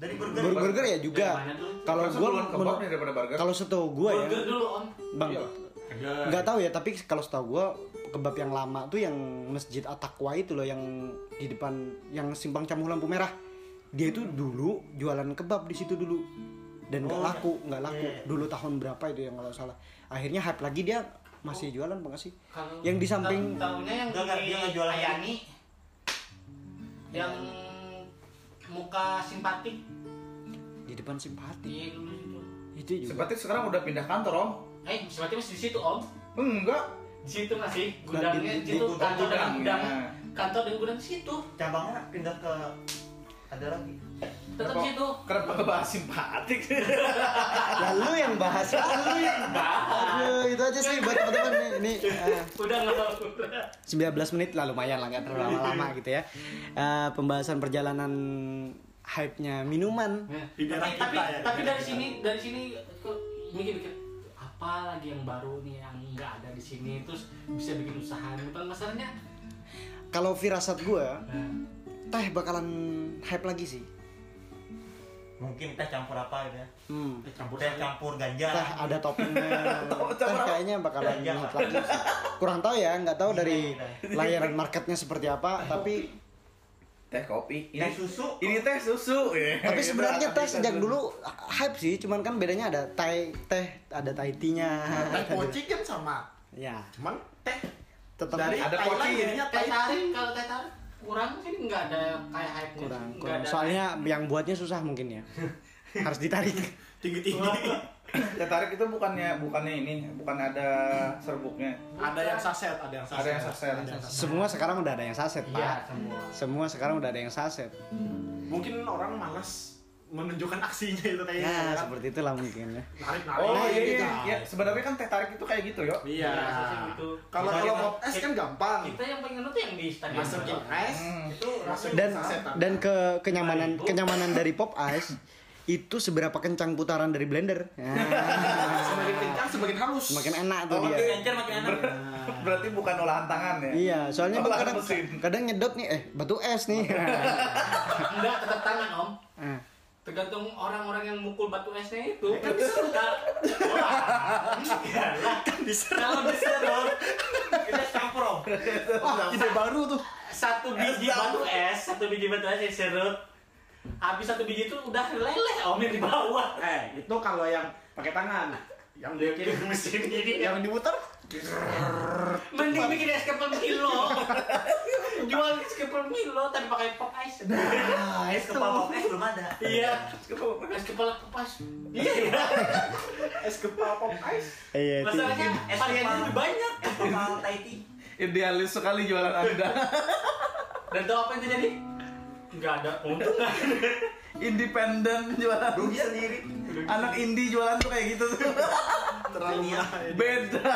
Speaker 6: Dari burger.
Speaker 1: burger, burger ya juga
Speaker 3: Dari mana dulu?
Speaker 1: kalau
Speaker 2: Masa
Speaker 1: gua
Speaker 2: duluan kebab
Speaker 1: menurut-
Speaker 2: daripada burger.
Speaker 1: kalau setahu gua ya
Speaker 3: burger dulu om
Speaker 1: bang
Speaker 2: Iya.
Speaker 1: nggak tahu ya tapi kalau setahu gua kebab yang lama tuh yang masjid Atakwa itu loh yang di depan yang simpang Campur lampu merah dia itu dulu jualan kebab di situ dulu dan nggak
Speaker 6: Oh,
Speaker 1: laku nggak laku
Speaker 6: iya.
Speaker 1: dulu tahun berapa itu yang kalau nggak salah akhirnya hype lagi dia masih jualan apa nggak sih
Speaker 3: kalau
Speaker 1: yang di samping
Speaker 3: tahunnya yang
Speaker 6: Enggak, enggak,
Speaker 3: di
Speaker 6: dia nggak jualan.
Speaker 3: Ayani yang muka simpatik
Speaker 1: di depan simpati
Speaker 3: iya dulu itu
Speaker 1: itu juga
Speaker 2: Seperti sekarang udah pindah kantor, Om.
Speaker 3: eh simpatik masih di situ om
Speaker 2: Enggak.
Speaker 3: di situ masih
Speaker 1: Dan
Speaker 3: gudangnya
Speaker 1: di- di-
Speaker 3: di
Speaker 1: ya.
Speaker 3: situ
Speaker 2: di-
Speaker 3: kantor dan
Speaker 2: gudangnya.
Speaker 3: gudang kantor dan gudang di situ
Speaker 6: Cabangnya pindah ke ada lagi.
Speaker 3: tetap di situ
Speaker 2: Kenapa kebahas simpatik?
Speaker 1: lalu yang bahas lalu yang
Speaker 6: Nah.
Speaker 1: Aduh, itu aja sih buat teman-teman nih ini eh,
Speaker 3: Ah, udah nggak tahu
Speaker 1: 19 menit lah lumayan lah nggak terlalu lama gitu ya Eh, pembahasan perjalanan hype-nya minuman
Speaker 4: Di daerah
Speaker 3: tapi,
Speaker 4: kita
Speaker 3: tapi,
Speaker 4: ya, di
Speaker 3: tapi
Speaker 4: daerah
Speaker 3: dari
Speaker 4: kita.
Speaker 3: sini dari sini kok mikir-mikir apa lagi yang baru nih yang nggak ada di sini terus bisa bikin usaha gitu kan masalahnya
Speaker 1: kalau firasat gue
Speaker 3: eh,
Speaker 1: teh bakalan hype lagi sih.
Speaker 6: mungkin teh campur apa gitu ya
Speaker 1: Hmm.
Speaker 6: teh campur teh campur ganja
Speaker 1: Teh ada toppingnya. teh kayaknya bakalan
Speaker 6: Iya.
Speaker 1: hype lagi. sih. Kurang tahu ya, nggak tahu dari
Speaker 6: Iya,
Speaker 1: layanan marketnya seperti apa, tapi
Speaker 2: Teh kopi.
Speaker 6: Teh susu.
Speaker 2: Ini teh susu. ya.
Speaker 1: tapi
Speaker 2: Gitu,
Speaker 1: sebenarnya teh
Speaker 2: artinya
Speaker 1: sejak
Speaker 2: tuh.
Speaker 1: dulu hype sih, cuman kan bedanya ada teh teh ada tai tea-nya.
Speaker 4: Teh poci kan sama.
Speaker 1: Ya,
Speaker 4: Cuman teh
Speaker 1: tetap
Speaker 4: dari
Speaker 2: ada poci.
Speaker 4: Thailand
Speaker 2: ya?
Speaker 4: jadinya teh
Speaker 5: Teh tarik kalau teh tarik kurang sih nggak ada kayak hype
Speaker 1: kurang kurang. Soalnya yang buatnya susah mungkin ya. Harus ditarik.
Speaker 4: tinggi-tinggi.
Speaker 2: Teh tarik itu bukannya bukannya ini, bukan ada serbuknya.
Speaker 4: ada yang saset, ada yang saset.
Speaker 2: Ada yang saset.
Speaker 4: ada yang saset.
Speaker 1: Semua sekarang udah ada yang saset,
Speaker 5: iya
Speaker 1: Pak.
Speaker 5: semua
Speaker 1: Semua sekarang udah ada yang saset.
Speaker 4: Mungkin orang malas menunjukkan aksinya itu kayaknya.
Speaker 1: Ya,
Speaker 4: ya kan?
Speaker 1: seperti itulah mungkin ya.
Speaker 4: Narik, narik.
Speaker 2: Oh iya iya.
Speaker 4: gitu.
Speaker 2: iya. Sebenarnya kan teh tarik itu kayak gitu yo.
Speaker 4: Iya.
Speaker 3: Rasanya gitu.
Speaker 4: Kalau
Speaker 3: Kita-
Speaker 4: kalau
Speaker 3: kita-
Speaker 4: pop es kan gampang.
Speaker 3: kita yang pengen lu tuh yang di stadion
Speaker 4: Masukin
Speaker 3: doang.
Speaker 4: es,
Speaker 2: Hmm.
Speaker 4: itu masukin
Speaker 1: Iya. dan
Speaker 4: sasetan.
Speaker 1: dan ke kenyamanan kenyamanan dari pop ice itu seberapa kencang putaran dari blender Nah,
Speaker 4: semakin kencang semakin halus.
Speaker 1: makin enak tuh
Speaker 2: Oh,
Speaker 1: dia
Speaker 2: oke.
Speaker 6: Encer makin enak
Speaker 4: Iya.
Speaker 2: Berarti bukan olahan tangan ya.
Speaker 1: iya soalnya gua
Speaker 2: Olahan
Speaker 1: kadang
Speaker 2: mesin.
Speaker 1: kadang nyedot nih eh batu es nih
Speaker 5: enggak tetap tangan om
Speaker 1: Ah,
Speaker 5: tergantung orang-orang yang mukul batu esnya itu kan disuruh Kak. Wah, iyalah.
Speaker 6: kalau
Speaker 3: Nah,
Speaker 6: bisa dong kita campur om
Speaker 4: Wah, ide baru tuh.
Speaker 3: satu biji batu es satu biji batu es diserut habis satu biji itu udah leleh om yang di bawah
Speaker 4: Eh, itu kalau yang pakai tangan. Yang dia kirim ke mesin ini Iya. yang diputar
Speaker 3: mending bikin es kepel Milo jual es kepel Milo tapi pakai pop ice
Speaker 6: Ah, es kepala pop es belum ada
Speaker 3: iya es kepala kepas iya
Speaker 4: es kepala pop ice.
Speaker 1: iya itu
Speaker 3: masalahnya
Speaker 6: Es
Speaker 3: variannya
Speaker 6: kepala.
Speaker 3: lebih banyak
Speaker 6: es kepala taiti
Speaker 2: Idealis sekali jualan Anda.
Speaker 3: dan tau apa yang terjadi nggak ada untung nggak ada.
Speaker 2: Independen jualan.
Speaker 6: rugi sendiri
Speaker 2: Anak indie jualan tuh kayak gitu tuh.
Speaker 4: Terlalu mahal.
Speaker 2: Beda.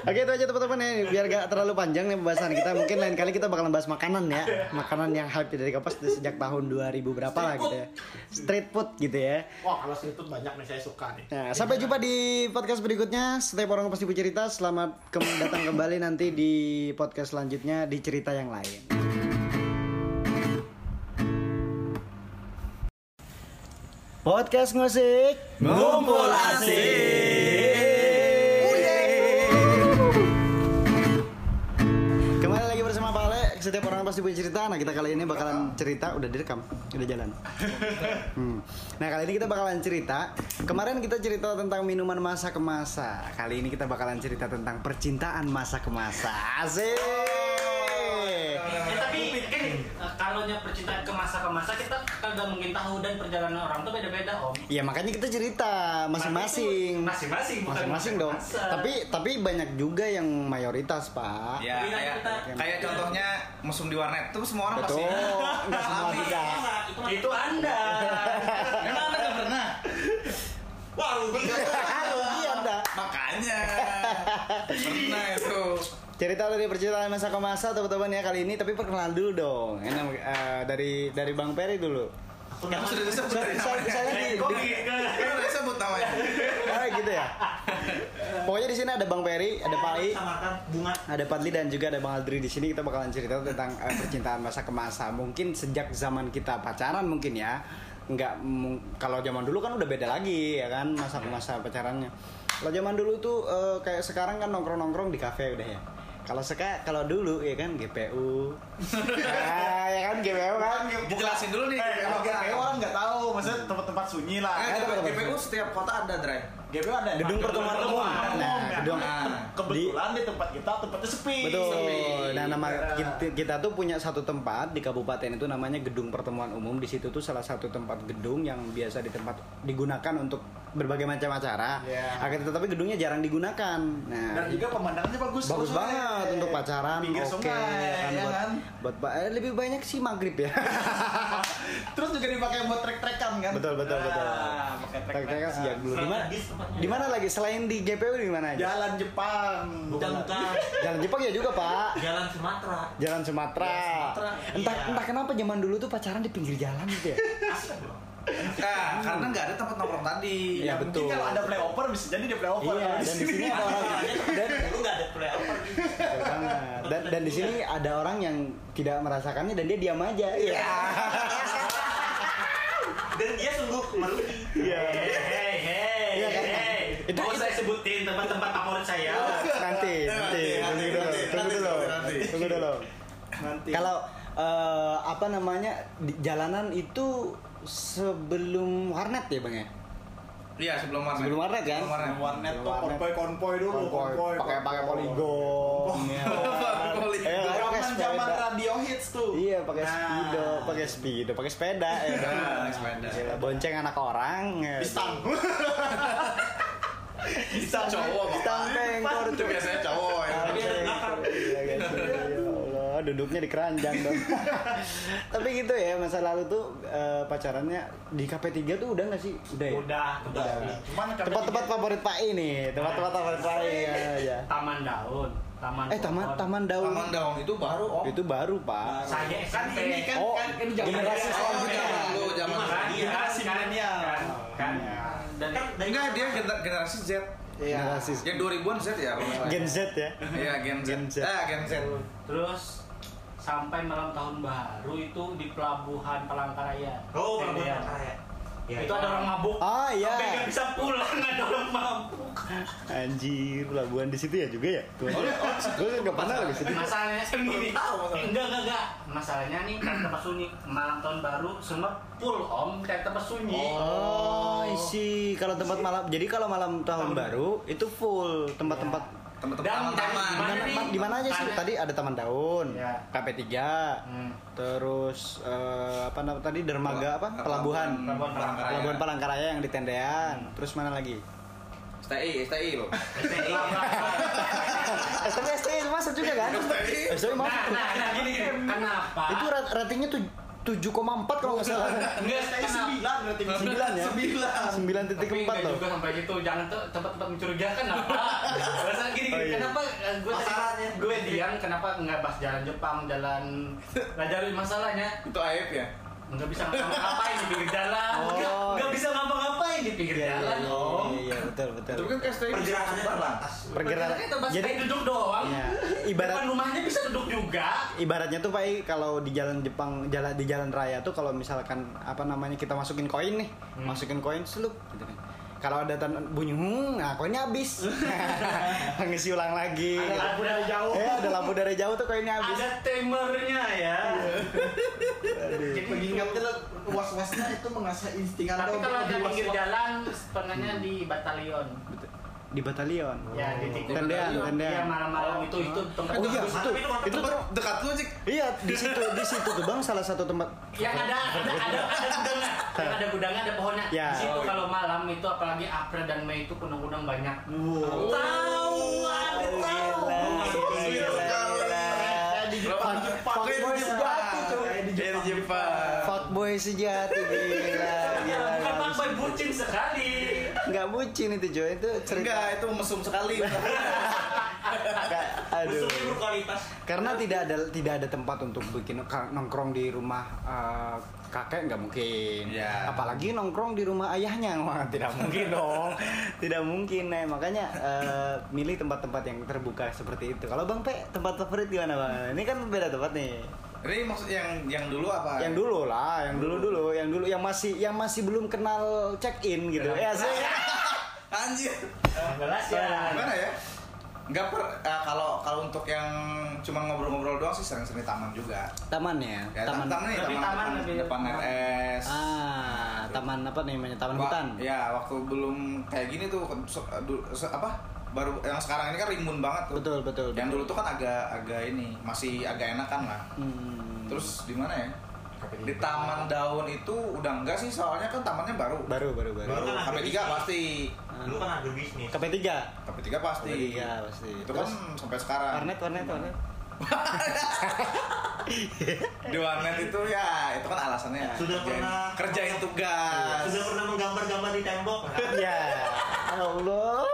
Speaker 1: Oke itu aja teman-teman ya biar gak terlalu panjang nih pembahasan kita mungkin lain kali kita bakalan bahas makanan ya makanan yang hype dari kapas sejak tahun 2000 berapa lah gitu ya street food gitu ya
Speaker 4: Wah, kalau streetfood banyak nih saya suka nih.
Speaker 1: Nah, sampai jumpa di podcast berikutnya. Setiap orang pasti bercerita. Selamat ke- datang kembali nanti di podcast selanjutnya di cerita yang lain. Podcast musik
Speaker 2: Ngumpul asik.
Speaker 1: Kembali lagi bersama Pak Ale. Setiap orang pasti punya cerita. Nah, kita kali ini bakalan cerita udah direkam, udah jalan. Hmm. Nah, kali ini kita bakalan cerita. Kemarin kita cerita tentang minuman masa ke masa. Kali ini kita bakalan cerita tentang percintaan masa ke masa. Asik.
Speaker 3: Ya, tapi kan eh, kalau nya percintaan ke masa ke masa kita kagak mungkin tahu dan perjalanan orang tuh beda-beda om
Speaker 1: Ya makanya kita cerita masing-masing.
Speaker 3: masing-masing bukan
Speaker 1: Masing-masing dong.
Speaker 3: masa.
Speaker 1: Tapi tapi banyak juga yang mayoritas, Pak.
Speaker 2: Ya, kayak, kayak contohnya mesum di warnet tuh semua orang pasti.
Speaker 1: Betul. Enggak semua juga.
Speaker 3: itu anda
Speaker 2: Emang anda nggak pernah?
Speaker 6: wah rugi
Speaker 1: Iya, Anda.
Speaker 2: Makanya. pernah itu.
Speaker 1: Cerita dari percintaan masa ke masa teman-teman ya kali ini tapi perkenalan dulu dong. Enak eh, dari dari Bang Peri dulu.
Speaker 2: Kamu sudah disebut
Speaker 1: Saya-
Speaker 2: tadi
Speaker 1: saya-
Speaker 2: namanya.
Speaker 1: saya lagi-
Speaker 2: Kok Kamu sudah disebut namanya.
Speaker 1: Ah gitu ya. Pokoknya di sini ada Bang Peri, ada Pak I,
Speaker 6: samakan bunga
Speaker 1: ada Padli dan juga ada Bang Aldri di sini kita bakalan cerita tentang eh, percintaan masa ke masa. Mungkin sejak zaman kita pacaran mungkin ya. Enggak mung- kalau zaman dulu kan udah beda lagi ya kan masa ke masa pacarannya. Kalau zaman dulu tuh eh, kayak sekarang kan nongkrong-nongkrong di kafe udah ya. Kalau seka kalau dulu ya kan GPU. ya, ya kan GPU kan.
Speaker 2: Dijelasin dulu nih.
Speaker 4: Kalau GPU orang nggak tahu, maksudnya tempat-tempat sunyi lah.
Speaker 2: Eh,
Speaker 1: ada apa, apa, apa?
Speaker 2: GPU setiap kota ada, Dre.
Speaker 4: GPU ada
Speaker 1: Gedung pertemuan umum. Nah, gedung
Speaker 2: Nah,
Speaker 4: kan. Kebetulan di tempat kita tempatnya sepi.
Speaker 1: Betul.
Speaker 4: Sepi.
Speaker 1: Nah, nama
Speaker 4: Ya.
Speaker 1: kita, kita tuh punya satu tempat di kabupaten itu namanya Gedung Pertemuan Umum. Di situ tuh salah satu tempat gedung yang biasa di tempat digunakan untuk berbagai macam acara.
Speaker 4: Iya.
Speaker 1: Akan tetapi gedungnya jarang digunakan. Nah,
Speaker 4: dan juga pemandangannya bagus.
Speaker 1: bagus
Speaker 4: sore.
Speaker 1: banget untuk pacaran.
Speaker 4: Pinggir
Speaker 1: Oke,
Speaker 4: sungai,
Speaker 1: ya kan,
Speaker 4: ya
Speaker 1: buat,
Speaker 4: kan?
Speaker 1: buat pa- eh, lebih banyak sih maghrib ya.
Speaker 4: Terus juga dipakai buat trek-trekan kan?
Speaker 1: betul betul betul.
Speaker 4: Ah, pakai
Speaker 1: Kita
Speaker 4: trek-trekan.
Speaker 1: kan sejak dulu. Di mana?
Speaker 6: Strategis tempatnya.
Speaker 1: Di mana lagi selain di GPU di mana aja?
Speaker 4: Jalan Jepang.
Speaker 6: bukan bukan
Speaker 1: Jalan Jepang ya juga, Pak.
Speaker 6: jalan Sumatera
Speaker 1: Jalan Sumatera.
Speaker 4: Sumatera,
Speaker 1: Entah
Speaker 4: iya.
Speaker 1: entah kenapa zaman dulu tuh pacaran di pinggir jalan gitu ya.
Speaker 2: Nah, karena nggak ada tempat nongkrong tadi. kan-
Speaker 1: Iya,
Speaker 4: Mungkin
Speaker 1: betul.
Speaker 4: kalau ada playover bisa jadi dia playover.
Speaker 1: Iya, dan di sini ada orang dan
Speaker 6: Dulu nggak ada playoff.
Speaker 1: Betul banget. dan dan di sini ada orang yang tidak merasakannya dan dia diam aja. Iya.
Speaker 6: Dan
Speaker 3: Iya,
Speaker 6: dia sungguh merugi.
Speaker 3: Hei, hei,
Speaker 1: Iya kan?
Speaker 3: hei.
Speaker 1: Itu-
Speaker 3: Mau
Speaker 1: itu-
Speaker 3: saya sebutin tempat-tempat favorit saya.
Speaker 1: Nanti, nanti, tunggu dulu, tunggu dulu, tunggu dulu.
Speaker 4: Nanti.
Speaker 1: Kalau eh, apa namanya di jalanan itu sebelum warnet ya bang ya?
Speaker 2: Iya, sebelum warnet.
Speaker 1: Sebelum warnet kan?
Speaker 2: Sebelum warnet.
Speaker 4: warnet tuh konvoy konvoy dulu,
Speaker 1: Konvoy, pakai pakai poligon. ya
Speaker 2: Iya,
Speaker 1: kan?
Speaker 2: Poligon.
Speaker 1: Eh, pakai
Speaker 4: Zaman zaman
Speaker 1: sepeda.
Speaker 4: radio hits tuh.
Speaker 1: Iya pakai
Speaker 4: Nah.
Speaker 1: speedo, pakai speedo, pakai sepeda ya kan?
Speaker 2: Nah, pakai sepeda.
Speaker 1: Gila, Bonceng anak orang. ya.
Speaker 4: Bistang.
Speaker 2: Bisa cowok, Bapak.
Speaker 1: Bistang pengkor.
Speaker 2: Itu biasanya cowok. ya.
Speaker 1: Tapi ada belakang. Iya, guys. Ya Allah, duduknya di keranjang dong. Tapi gitu ya, masa lalu tuh eh, pacarannya di KP3 tuh udah gak sih? Udah ya?
Speaker 3: Udah, udah.
Speaker 4: Cuman kata
Speaker 1: Tempat-tempat
Speaker 4: dia,
Speaker 1: favorit Pak I nih, tempat-tempat favorit Pak I ya, ya.
Speaker 3: Taman daun, taman.
Speaker 1: Eh, Taman
Speaker 3: pohon.
Speaker 1: Taman Daun.
Speaker 2: Taman daun itu baru om.
Speaker 1: Itu baru, oh. Pak.
Speaker 3: Saya
Speaker 4: kan
Speaker 3: SMP.
Speaker 4: ini kan
Speaker 1: Oh,
Speaker 4: kan ini
Speaker 1: generasi selanjutnya.
Speaker 2: Lu zaman
Speaker 3: Kan,
Speaker 2: dulu.
Speaker 3: kan, kan,
Speaker 4: milenial.
Speaker 3: kan, kan. Dan
Speaker 6: Kan dari
Speaker 2: Enggak, dia gener- generasi Z.
Speaker 4: Iya.
Speaker 1: Generasi
Speaker 2: Yang 2000-an Z ya, kalau nggak salah.
Speaker 1: Gen Z ya.
Speaker 2: Iya, Gen Z.
Speaker 1: Gen Z.
Speaker 2: Ah, Gen Z.
Speaker 3: terus sampai malam tahun baru itu di pelabuhan Palangkaraya.
Speaker 6: Oh, kalau
Speaker 3: Iya.
Speaker 6: ya. Ya,
Speaker 3: Itu ada orang mabuk.
Speaker 1: Ah iya.
Speaker 3: Sampai nggak bisa pulang ada orang mabuk.
Speaker 1: Anjir, pelabuhan di situ ya juga ya. Tuh. Gue nggak pernah lebih situ.
Speaker 3: masalahnya sendiri enggak enggak enggak masalahnya nih cari tempat sunyi malam tahun baru semua full om cari tempat sunyi
Speaker 1: Oh, isi kalau tempat malam. Jadi kalau malam tahun baru itu full tempat-tempat
Speaker 3: Iya.
Speaker 2: Teman-teman
Speaker 3: Dan-
Speaker 1: di
Speaker 2: taman-taman.
Speaker 3: dan-
Speaker 1: mana-
Speaker 3: Mana
Speaker 1: ma-
Speaker 3: nih?
Speaker 1: di mana aja sih?
Speaker 3: Tanya.
Speaker 1: Tadi ada Taman Daun,
Speaker 3: Iya.
Speaker 1: KP3,
Speaker 3: Hmm.
Speaker 1: terus eh, apa namanya tadi dermaga apa? Pelabuhan.
Speaker 3: Pelabuhan Palangkaraya. Hmm.
Speaker 1: Pelabuhan Palangkaraya yang di Tendean. Terus mana lagi?
Speaker 2: STI, STI loh.
Speaker 3: STI. nah,
Speaker 1: STM STM masuk juga kan? STM
Speaker 3: nah
Speaker 1: masuk.
Speaker 3: nah nah gini kenapa
Speaker 1: Itu ra- ratingnya tuh 7,4 kalau nggak salah. ya?
Speaker 3: enggak
Speaker 4: Kayaknya
Speaker 3: kenapa?
Speaker 4: sembilan berarti
Speaker 1: Sembilan ya?
Speaker 4: Sembilan.
Speaker 1: 9.4
Speaker 3: tapi enggak
Speaker 1: loh.
Speaker 3: juga sampai gitu jangan tuh tempat-tempat mencurigakan apa bahasa gini
Speaker 1: Oh,
Speaker 3: gini
Speaker 1: iya.
Speaker 3: kenapa eh, gue
Speaker 6: Pasarannya.
Speaker 3: gue diam kenapa nggak bahas jalan Jepang jalan Raja Lui masalahnya
Speaker 2: Itu aib ya.
Speaker 3: nggak bisa ngapa-ngapain di pinggir jalan
Speaker 1: Oh.
Speaker 3: nggak nggak bisa ngapa-ngapain di pinggir
Speaker 1: Iya, iya,
Speaker 3: jalan
Speaker 1: iya,
Speaker 3: om
Speaker 1: iya, iya, betul, betul.
Speaker 2: Tapi kan ke STI
Speaker 6: pergerakannya terbatas.
Speaker 1: Pergerakan.
Speaker 3: Itu bahas
Speaker 1: Jadi
Speaker 3: kayak duduk doang.
Speaker 1: Iya. Ibarat-
Speaker 3: Ibarat Depan rumahnya bisa duduk juga.
Speaker 1: ibaratnya tuh Pak I, kalau di jalan Jepang jalan di jalan raya tuh kalau misalkan apa namanya kita masukin koin nih
Speaker 3: Hmm.
Speaker 1: masukin koin seluk gitu kan kalau ada tan- bunyi hmm, nah koinnya habis ngisi ulang lagi
Speaker 3: Ada lampu dari jauh.
Speaker 1: eh ada lampu dari jauh tuh koinnya habis
Speaker 3: Iya. Ada timernya ya. Jadi
Speaker 4: Mengingatnya lo was-wasnya itu mengasah insting anda
Speaker 3: Tapi
Speaker 4: untuk
Speaker 3: kalau ada
Speaker 4: lebih
Speaker 3: pinggir
Speaker 4: was-was.
Speaker 3: jalan, sebenarnya di batalion.
Speaker 1: di batalion
Speaker 3: Ya, di titik.
Speaker 1: Tendean, tendean.
Speaker 3: Ya, malam-malam itu itu tempat
Speaker 1: oh iya
Speaker 3: bagus.
Speaker 1: itu itu tuh
Speaker 2: dekat lu sih.
Speaker 1: iya di situ di situ tuh bang salah satu tempat
Speaker 3: yang ada ada ada ada gudangnya, yang ada gudangnya ada pohonnya.
Speaker 1: Ya.
Speaker 3: Di situ
Speaker 2: Oh, iya.
Speaker 3: kalau malam itu apalagi April dan Mei itu kunang-kunang banyak.
Speaker 1: wow
Speaker 3: Tahu,
Speaker 2: Oh.
Speaker 3: ada tahu.
Speaker 1: Fuckboy sejati tuh
Speaker 4: Kayak di Jepang.
Speaker 1: Fuckboy sejati Gila Gila
Speaker 3: Bukan
Speaker 1: gila.
Speaker 3: fuckboy, bucin sekali.
Speaker 1: Nggak bucin itu Joy Itu cerita
Speaker 2: Enggak, itu mesum sekali.
Speaker 1: Nggak, Aduh
Speaker 6: Musuhnya berkualitas.
Speaker 1: Karena tidak ada tidak ada tempat untuk bikin ka- nongkrong di rumah eh, kakek nggak mungkin.
Speaker 2: Iya.
Speaker 1: Apalagi nongkrong di rumah ayahnya, wah tidak mungkin dong. tidak mungkin, nah makanya eh, milih tempat-tempat yang terbuka seperti itu. Kalau Bang Pe, tempat favorit gimana Bang? Ini kan beda tempat nih.
Speaker 2: Ini maksud yang yang dulu apa?
Speaker 1: Yang dulu lah, yang dulu dulu, yang dulu yang masih yang masih belum kenal check in gitu. Ya, saya-
Speaker 2: Anjir.
Speaker 3: Jelas ya.
Speaker 2: Gimana ya? Enggak per eh, kalau kalau untuk yang cuma ngobrol-ngobrol doang sih sering-sering di taman juga.
Speaker 1: taman ya,
Speaker 2: Ya, taman, taman, nih,
Speaker 3: Lebih
Speaker 2: taman,
Speaker 3: taman,
Speaker 2: depan-
Speaker 3: lebih-
Speaker 2: depan RS.
Speaker 1: Ah, taman apa namanya? Taman
Speaker 2: Wa-
Speaker 1: hutan.
Speaker 2: Ya, waktu belum kayak gini tuh se- du- se- apa? Baru yang sekarang ini kan rimbun banget tuh.
Speaker 1: Betul, betul. betul.
Speaker 2: Yang dulu tuh kan agak agak ini, masih agak enakan lah.
Speaker 1: Hmm.
Speaker 2: Terus di mana ya? Di Taman Daun itu udah enggak sih soalnya kan tamannya baru.
Speaker 1: baru baru baru.
Speaker 2: Baru KP3
Speaker 6: Kan agribisnis.
Speaker 2: pasti.
Speaker 6: Dulu kan agribisnis.
Speaker 1: KP3.
Speaker 2: KP3 pasti.
Speaker 1: KP3 Oh, Iya, pasti.
Speaker 2: Iya, Itu kan
Speaker 1: Terus?
Speaker 2: sampai sekarang.
Speaker 1: Warnet warnet warnet.
Speaker 2: Di warnet itu ya, itu kan alasannya.
Speaker 6: Sudah
Speaker 2: kerjain,
Speaker 6: pernah-
Speaker 2: kerjain tugas.
Speaker 1: Iya.
Speaker 2: Ah.
Speaker 6: Sudah pernah menggambar-gambar di tembok? nggak?
Speaker 1: Ya. Allah.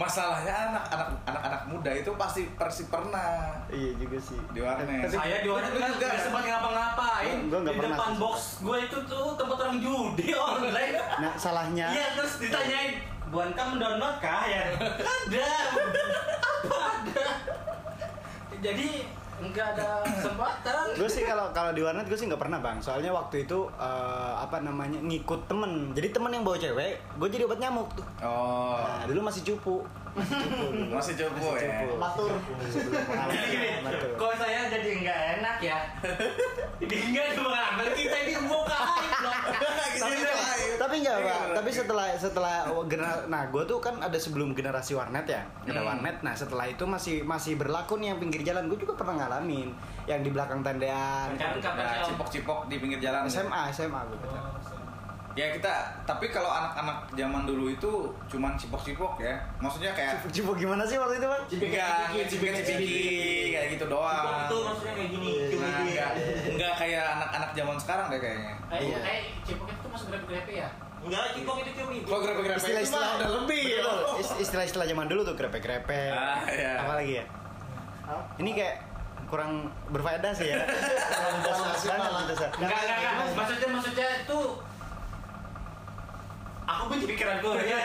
Speaker 2: masalahnya anak anak anak anak muda itu pasti persi pernah
Speaker 1: Iya juga sih.
Speaker 2: di warnet.
Speaker 3: Saya di warnet kan
Speaker 2: Enggak.
Speaker 3: nggak sempat ngapa-ngapain.
Speaker 1: Gua- gua nggak
Speaker 3: Di
Speaker 1: pernah
Speaker 3: depan
Speaker 1: sih.
Speaker 3: box gue itu tuh tempat orang judi online.
Speaker 1: Nah, salahnya
Speaker 3: Iya terus ditanyain, buan kamu download kah ya? Ada. Apa ada? Jadi nggak ada kesempatan.
Speaker 1: gue sih kalau kalau di warnet gue sih nggak pernah bang soalnya waktu itu eh, apa namanya ngikut temen jadi temen yang bawa cewek gue jadi obat nyamuk tuh
Speaker 2: Oh,
Speaker 1: nah, dulu masih cupu masih cupu dulu.
Speaker 2: masih cupu
Speaker 1: Masih
Speaker 2: ya.
Speaker 1: cupu.
Speaker 4: Matur.
Speaker 1: Sebelum pengalaman,
Speaker 3: Gini-gini,
Speaker 1: matur.
Speaker 3: kok saya jadi nggak enak ya? Jadi nggak ada kita ini buka aib loh.
Speaker 1: tapi
Speaker 2: Iya,
Speaker 1: tapi nggak pak tapi setelah setelah genera- nah gue tuh kan ada sebelum generasi warnet ya ada
Speaker 2: Hmm.
Speaker 1: warnet nah setelah itu masih masih berlaku nih yang pinggir jalan gue juga pernah ngalamin yang di belakang tandaan
Speaker 3: Kan kapan
Speaker 2: Nah,
Speaker 3: ya?
Speaker 2: cipok-cipok di pinggir jalan.
Speaker 1: SMA SMA gue pacar
Speaker 2: Ya kita, tapi kalau anak-anak zaman dulu itu cuman cipok-cipok ya. Maksudnya kayak
Speaker 1: Cipu gimana sih waktu itu bang?
Speaker 2: enggak cipik-cipiki kayak gitu doang.
Speaker 6: itu maksudnya kayak gini
Speaker 2: Nah,
Speaker 6: gini
Speaker 2: enggak, enggak kayak anak-anak zaman sekarang deh kayaknya.
Speaker 3: Eh,
Speaker 4: Iya.
Speaker 3: eh, cipok itu masuk grab grab ya?
Speaker 6: enggak cipok itu cumi
Speaker 2: Kalau grepe-grepe itu
Speaker 1: Istilah-istilah
Speaker 2: mah udah lebih ya.
Speaker 1: Betul, ist- Istilah-istilah zaman dulu tuh krepe-krepe.
Speaker 2: Ah, iya.
Speaker 1: Apa lagi ya? Ini kayak kurang berfaedah sih ya. Kurang banget gitu, Sar.
Speaker 3: Enggak, enggak, enggak. Maksudnya, maksudnya itu aku pun pikiran gue ya.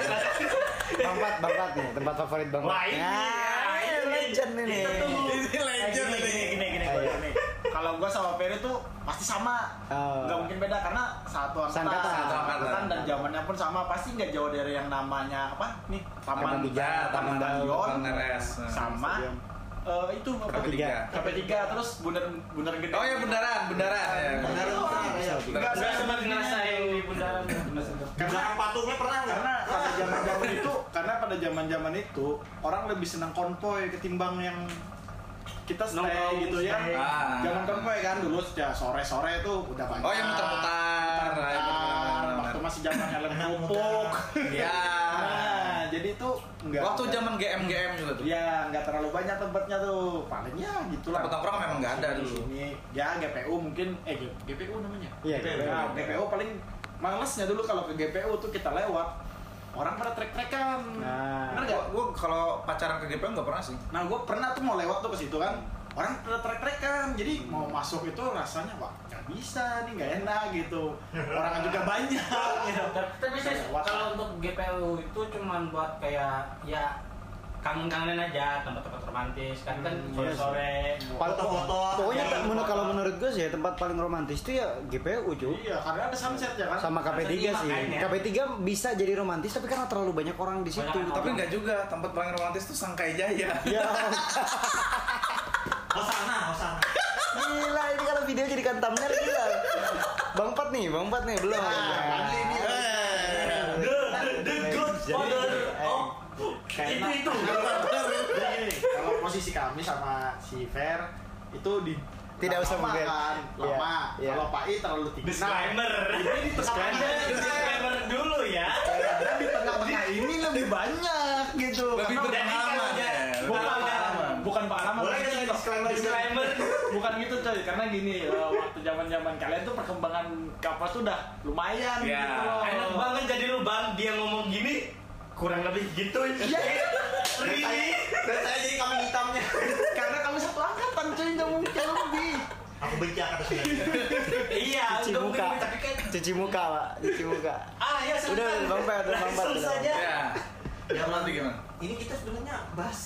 Speaker 1: Bang Pat, Bang Pat nih, tempat favorit Bang Pat.
Speaker 3: Wah, ini,
Speaker 1: Nah,
Speaker 3: ya,
Speaker 1: ini
Speaker 3: ini.
Speaker 1: legend ini.
Speaker 3: Kita tunggu.
Speaker 2: Ini legend
Speaker 4: gini,
Speaker 2: ini.
Speaker 4: gini, gini, gini, gua dulu nih. Kalau gua sama Peri tuh pasti sama.
Speaker 1: Oh.
Speaker 4: Nggak mungkin beda karena satu angkatan,
Speaker 1: Seangkatan.
Speaker 4: satu angkatan
Speaker 2: Seangkatan.
Speaker 4: dan zamannya pun sama. Pasti nggak jauh dari yang namanya apa nih
Speaker 2: Taman
Speaker 4: Taman
Speaker 2: Bija,
Speaker 4: Bija, Taman
Speaker 2: Taman
Speaker 4: Balyon,
Speaker 2: Taman Neres. Nah,
Speaker 4: sama
Speaker 1: stadion.
Speaker 4: eh, itu apa?
Speaker 2: Berapa tiga?
Speaker 4: Sampai tiga terus bundar bundar gede.
Speaker 2: Oh ya beneran, beneran. ya.
Speaker 4: Beneran, beneran,
Speaker 1: Iya.
Speaker 4: Nggak,
Speaker 3: Enggak sempat ngerasain di bundaran.
Speaker 4: Karena
Speaker 6: belakang patungnya pernah nggak
Speaker 4: karena
Speaker 2: Ah.
Speaker 4: pada zaman zaman itu karena pada zaman zaman itu orang lebih senang konvoy ketimbang yang kita stay
Speaker 3: Nongkrong,
Speaker 4: gitu ya
Speaker 3: stay.
Speaker 2: Ah.
Speaker 4: zaman konvoy kan dulu ya sore sore tuh udah banyak
Speaker 2: Oh yang muter-muter. Ah, ya,
Speaker 4: Muter-muter.
Speaker 2: bener-bener.
Speaker 4: waktu masih zaman helm kerupuk
Speaker 2: Ya.
Speaker 4: nah jadi itu nggak
Speaker 2: Waktu zaman GM GM juga tuh.
Speaker 4: ya nggak terlalu banyak tempatnya tuh palingnya gitu gitulah
Speaker 2: Tempat nongkrong memang nggak ada dulu.
Speaker 4: ini ya GPU mungkin eh G- GPU namanya
Speaker 1: Iya,
Speaker 4: GPU,
Speaker 1: GPU.
Speaker 4: Nah, GPU paling malesnya dulu kalau ke GPU tuh kita lewat orang pada trek-trekan
Speaker 1: Nah.
Speaker 4: bener nggak
Speaker 2: Gua, gua kalau pacaran ke GPM nggak pernah sih.
Speaker 4: nah gue pernah tuh mau lewat tuh ke situ kan orang pada trek-trekan jadi mau masuk itu rasanya wah nggak bisa nih nggak enak gitu orang juga banyak gitu.
Speaker 3: Tapi saya kalau untuk GPU itu cuman buat kayak ya kangen-kangenan aja tempat-tempat romantis kan kan sore-sore.
Speaker 6: foto-foto
Speaker 1: Pokoknya tak- menurut- kalau menurut gue sih ya, tempat paling romantis itu ya GPU cuy.
Speaker 4: iya karena ada sunset ya kan
Speaker 1: Sama KP3 sih.
Speaker 3: Makanya.
Speaker 1: KP3 bisa jadi romantis tapi karena terlalu banyak orang di situ.
Speaker 3: Banyak
Speaker 2: Tapi nggak juga, tempat paling romantis tuh Sangkai Jaya.
Speaker 1: Ya
Speaker 6: hosana hosana
Speaker 1: Gila ini kalau video jadi thumbnail gila. Bang Pat nih, Bang Pat nih belum. Ya. Eh.
Speaker 4: Padli nih.
Speaker 3: The the good father of itu itu.
Speaker 4: Nah, Jadi gini, kalau posisi kami sama si Fer itu di
Speaker 1: Tidak usah
Speaker 4: lama
Speaker 1: mungkin.
Speaker 4: kan, lama.
Speaker 1: Iya, iya.
Speaker 4: Kalau Pak I terlalu tinggi. Nah,
Speaker 3: Disclaimer.
Speaker 4: ini
Speaker 3: Anda
Speaker 4: disclaimer.
Speaker 3: disclaimer dulu ya.
Speaker 4: Karena di tengah-tengah ini lebih banyak gitu.
Speaker 2: Lebih
Speaker 4: Karena
Speaker 2: berpengalaman.
Speaker 3: Jadi
Speaker 2: ya.
Speaker 3: kalau- Kalau
Speaker 4: bukan
Speaker 3: udah-
Speaker 4: pengalaman, bukan pengalaman.
Speaker 6: boleh
Speaker 4: tapi
Speaker 6: nggak
Speaker 4: gini,
Speaker 6: disclaimer
Speaker 3: ya, Disclaimer.
Speaker 4: Bukan gitu coy, karena gini eh, waktu zaman-zaman kalian tuh perkembangan kapal tuh udah lumayan
Speaker 2: Iya.
Speaker 4: gitu loh.
Speaker 3: Ya. Enak banget jadi lu bang dia ngomong gini kurang lebih gitu.
Speaker 4: Iya.
Speaker 3: Really?
Speaker 1: Iya.
Speaker 6: dan saya jadi kambing hitamnya
Speaker 4: Karena kamu satu angkatan cuy, nggak
Speaker 1: Kan
Speaker 4: mungkin lebih.
Speaker 6: aku benci akan
Speaker 3: Iya.
Speaker 1: Cuci
Speaker 3: udah
Speaker 1: muka.
Speaker 3: mungkin, Tapi kan
Speaker 1: Cuci muka, Pak. Cuci muka.
Speaker 3: ah
Speaker 6: iya,
Speaker 3: ya
Speaker 1: Udah,
Speaker 3: silakan.
Speaker 1: udah, Bang Pat, udah, Bang Pat,
Speaker 3: Langsung
Speaker 1: udah.
Speaker 3: saja.
Speaker 2: Ya. Yang nanti gimana?
Speaker 6: ini kita sebenarnya bahas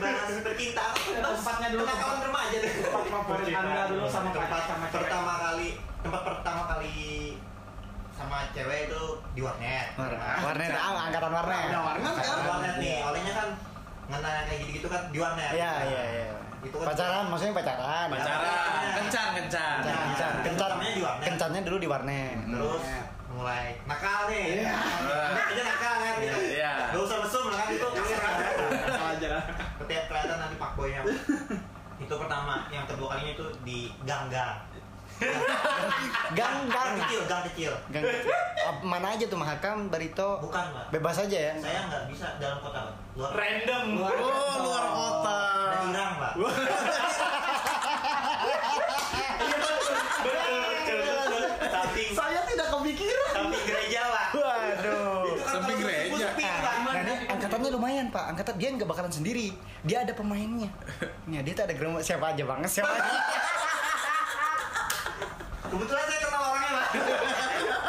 Speaker 6: bahas percintaan bahas
Speaker 4: Tempatnya dulu,
Speaker 6: kenakalan remaja deh
Speaker 4: Tempat favorit Anda dulu sama
Speaker 6: tempat
Speaker 4: sama cewek.
Speaker 6: pertama kali tempat pertama kali sama cewek itu di warnet
Speaker 1: Nah. Warnet, ah, angkatan warnet.
Speaker 4: Ada warnet
Speaker 6: kan
Speaker 4: kan?
Speaker 6: di warnet nih olehnya kan ngenanya kayak gitu gitu kan di warnet
Speaker 1: Iya, iya, iya.
Speaker 6: Itu kan-
Speaker 1: Pacaran, maksudnya pacaran.
Speaker 2: Pacaran, kencan, kencan.
Speaker 1: Kencan, kencan.
Speaker 6: Nah,
Speaker 1: Kencan.
Speaker 6: pertamanya di warnet.
Speaker 1: Kencannya dulu di warnet.
Speaker 6: terus
Speaker 1: Iya.
Speaker 6: mulai nakal nih Anak aja nakal kan
Speaker 2: Iya.
Speaker 6: gak usah mesum lah kan itu
Speaker 1: Iya.
Speaker 6: kasar kan
Speaker 4: Salah aja lah.
Speaker 6: Ketiak kelihatan nanti pak boynya itu pertama yang kedua kalinya itu di ganggang
Speaker 1: Gang,
Speaker 6: Ah,
Speaker 1: gang.
Speaker 6: kecil gang kecil
Speaker 1: Gang. Ap- Mana aja tuh Mahakam, Barito.
Speaker 6: bukan pak
Speaker 1: Bebas aja ya.
Speaker 6: saya nggak bisa dalam kota pak luar
Speaker 3: Random.
Speaker 2: Oh, luar kota.
Speaker 6: dan Irang pak tapi
Speaker 4: Saya tidak kepikiran.
Speaker 6: tapi gereja pak
Speaker 1: Waduh.
Speaker 6: itu kan
Speaker 2: Samping
Speaker 6: kalau
Speaker 2: gereja.
Speaker 6: sepi, Pak.
Speaker 1: Nah, ini angkatannya lumayan pak angkatan dia nggak bakalan sendiri dia ada pemainnya nih dia tuh ada gerombolan siapa aja bang siapa aja
Speaker 6: Kebetulan saya kenal orangnya lah.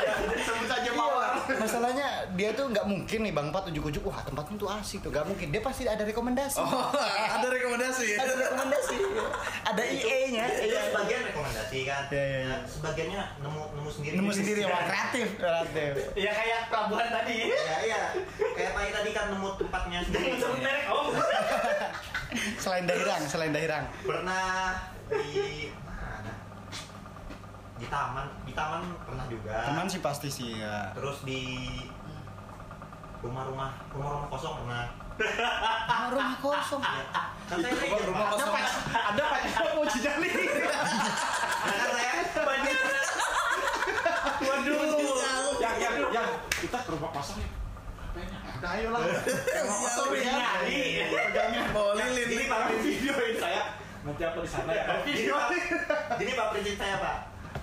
Speaker 1: Ya,
Speaker 4: sebut saja
Speaker 1: Iya,
Speaker 4: mawar
Speaker 1: Pak. masalahnya dia tuh nggak mungkin nih bang Pat ujuk-ujuk wah tempatnya tuh asik tuh nggak mungkin dia pasti ada rekomendasi
Speaker 2: Oh, ada rekomendasi
Speaker 1: ada rekomendasi ada IE nya
Speaker 6: Itu Iya, sebagian rekomendasi kan.
Speaker 1: Iya, iya, iya.
Speaker 6: Nah, Sebagiannya nemu nemu sendiri.
Speaker 1: nemu sendiri wah kreatif kreatif
Speaker 3: Ya kayak pelabuhan tadi.
Speaker 6: Iya iya. Kayak tadi tadi kan nemu tempatnya sendiri.
Speaker 3: Langsung merek om.
Speaker 1: selain daerang selain daerang
Speaker 6: pernah di mana? Di taman, di taman pernah juga.
Speaker 1: teman sih pasti sih ya
Speaker 6: Terus di rumah-rumah rumah-rumah kosong pernah.
Speaker 1: Ah, rumah kosong
Speaker 6: Iya. Kan saya ranger,
Speaker 2: rumah
Speaker 6: Pak.
Speaker 2: kosong
Speaker 4: ada apa mau jejali
Speaker 6: Nah, kan saya
Speaker 3: Waduh.
Speaker 4: yang yang yang kita ke rumah kosong ya Apanya? Udah ayo lah Rumah kosong ya
Speaker 3: Nyali.
Speaker 4: Pegangnya
Speaker 2: bawa Oh, lilin
Speaker 4: Ini malah videoin saya Nanti aku di sana ya Pak.
Speaker 6: Jadi Pak prinsip saya Pak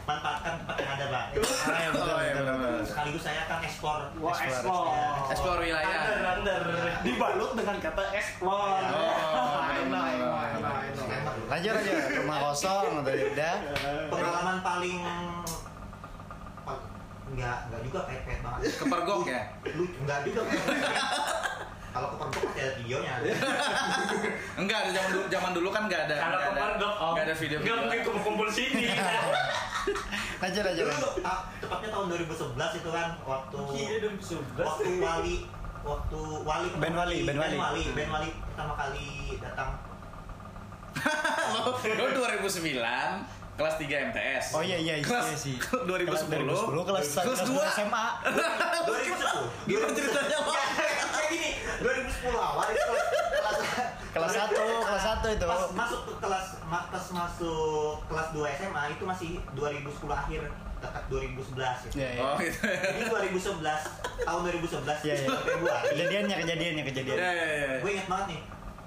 Speaker 6: manfaatkan tempat yang ada Pak.
Speaker 2: Oh, iya, benar-benar.
Speaker 6: Sekaligus saya akan ekspor.
Speaker 4: Wah explore
Speaker 5: Explore
Speaker 2: Iya.
Speaker 5: wilayah.
Speaker 3: Under, under.
Speaker 4: Dibalut dengan kata explore
Speaker 6: Iya.
Speaker 2: Oh,
Speaker 4: Main, main, main, main.
Speaker 1: lanjut aja rumah kosong atau udah
Speaker 6: Pengalaman paling pa- nggak nggak juga kayak kayak banget.
Speaker 2: kepergok ya
Speaker 6: Lu nggak juga. pepet. Kalau ke Perpuk pasti ada videonya.
Speaker 2: enggak ada zaman dulu zaman dulu kan enggak ada
Speaker 3: Kalau
Speaker 2: nggak ada-
Speaker 3: kemarin dok om.
Speaker 2: nggak ada video
Speaker 3: Nggak mungkin kumpul-kumpul sini.
Speaker 1: lanjut lanjut
Speaker 6: Dulu
Speaker 1: lanjut.
Speaker 6: ta- tepatnya tahun 2011 itu kan waktu
Speaker 1: Iya,
Speaker 3: Gila dong sebelas.
Speaker 6: waktu Wali waktu Wali
Speaker 1: Ben Wali, Ben Wali.
Speaker 6: Ben Wali pertama kali datang
Speaker 2: Lu 2009 kelas 3 MTS.
Speaker 1: oh iya iya iya
Speaker 2: kelas,
Speaker 1: iya sih
Speaker 2: kelas 2010.
Speaker 1: 2010 kelas
Speaker 2: kelas 2
Speaker 1: SMA
Speaker 6: 2010
Speaker 2: Gimana ceritanya? Pak?
Speaker 6: kayak gini 2010 awal itu kelas
Speaker 1: kelas 1 kelas 1 itu
Speaker 6: pas masuk ke kelas ma- pas masuk kelas 2 SMA itu masih 2010 akhir dekat 2011 gitu.
Speaker 1: Iya, iya.
Speaker 2: Oh gitu.
Speaker 6: Jadi 2011 tahun 2011
Speaker 1: Iya, iya.
Speaker 6: Februari
Speaker 1: kejadiannya kejadiannya kejadian
Speaker 2: Ya ya ya.
Speaker 6: gue inget banget nih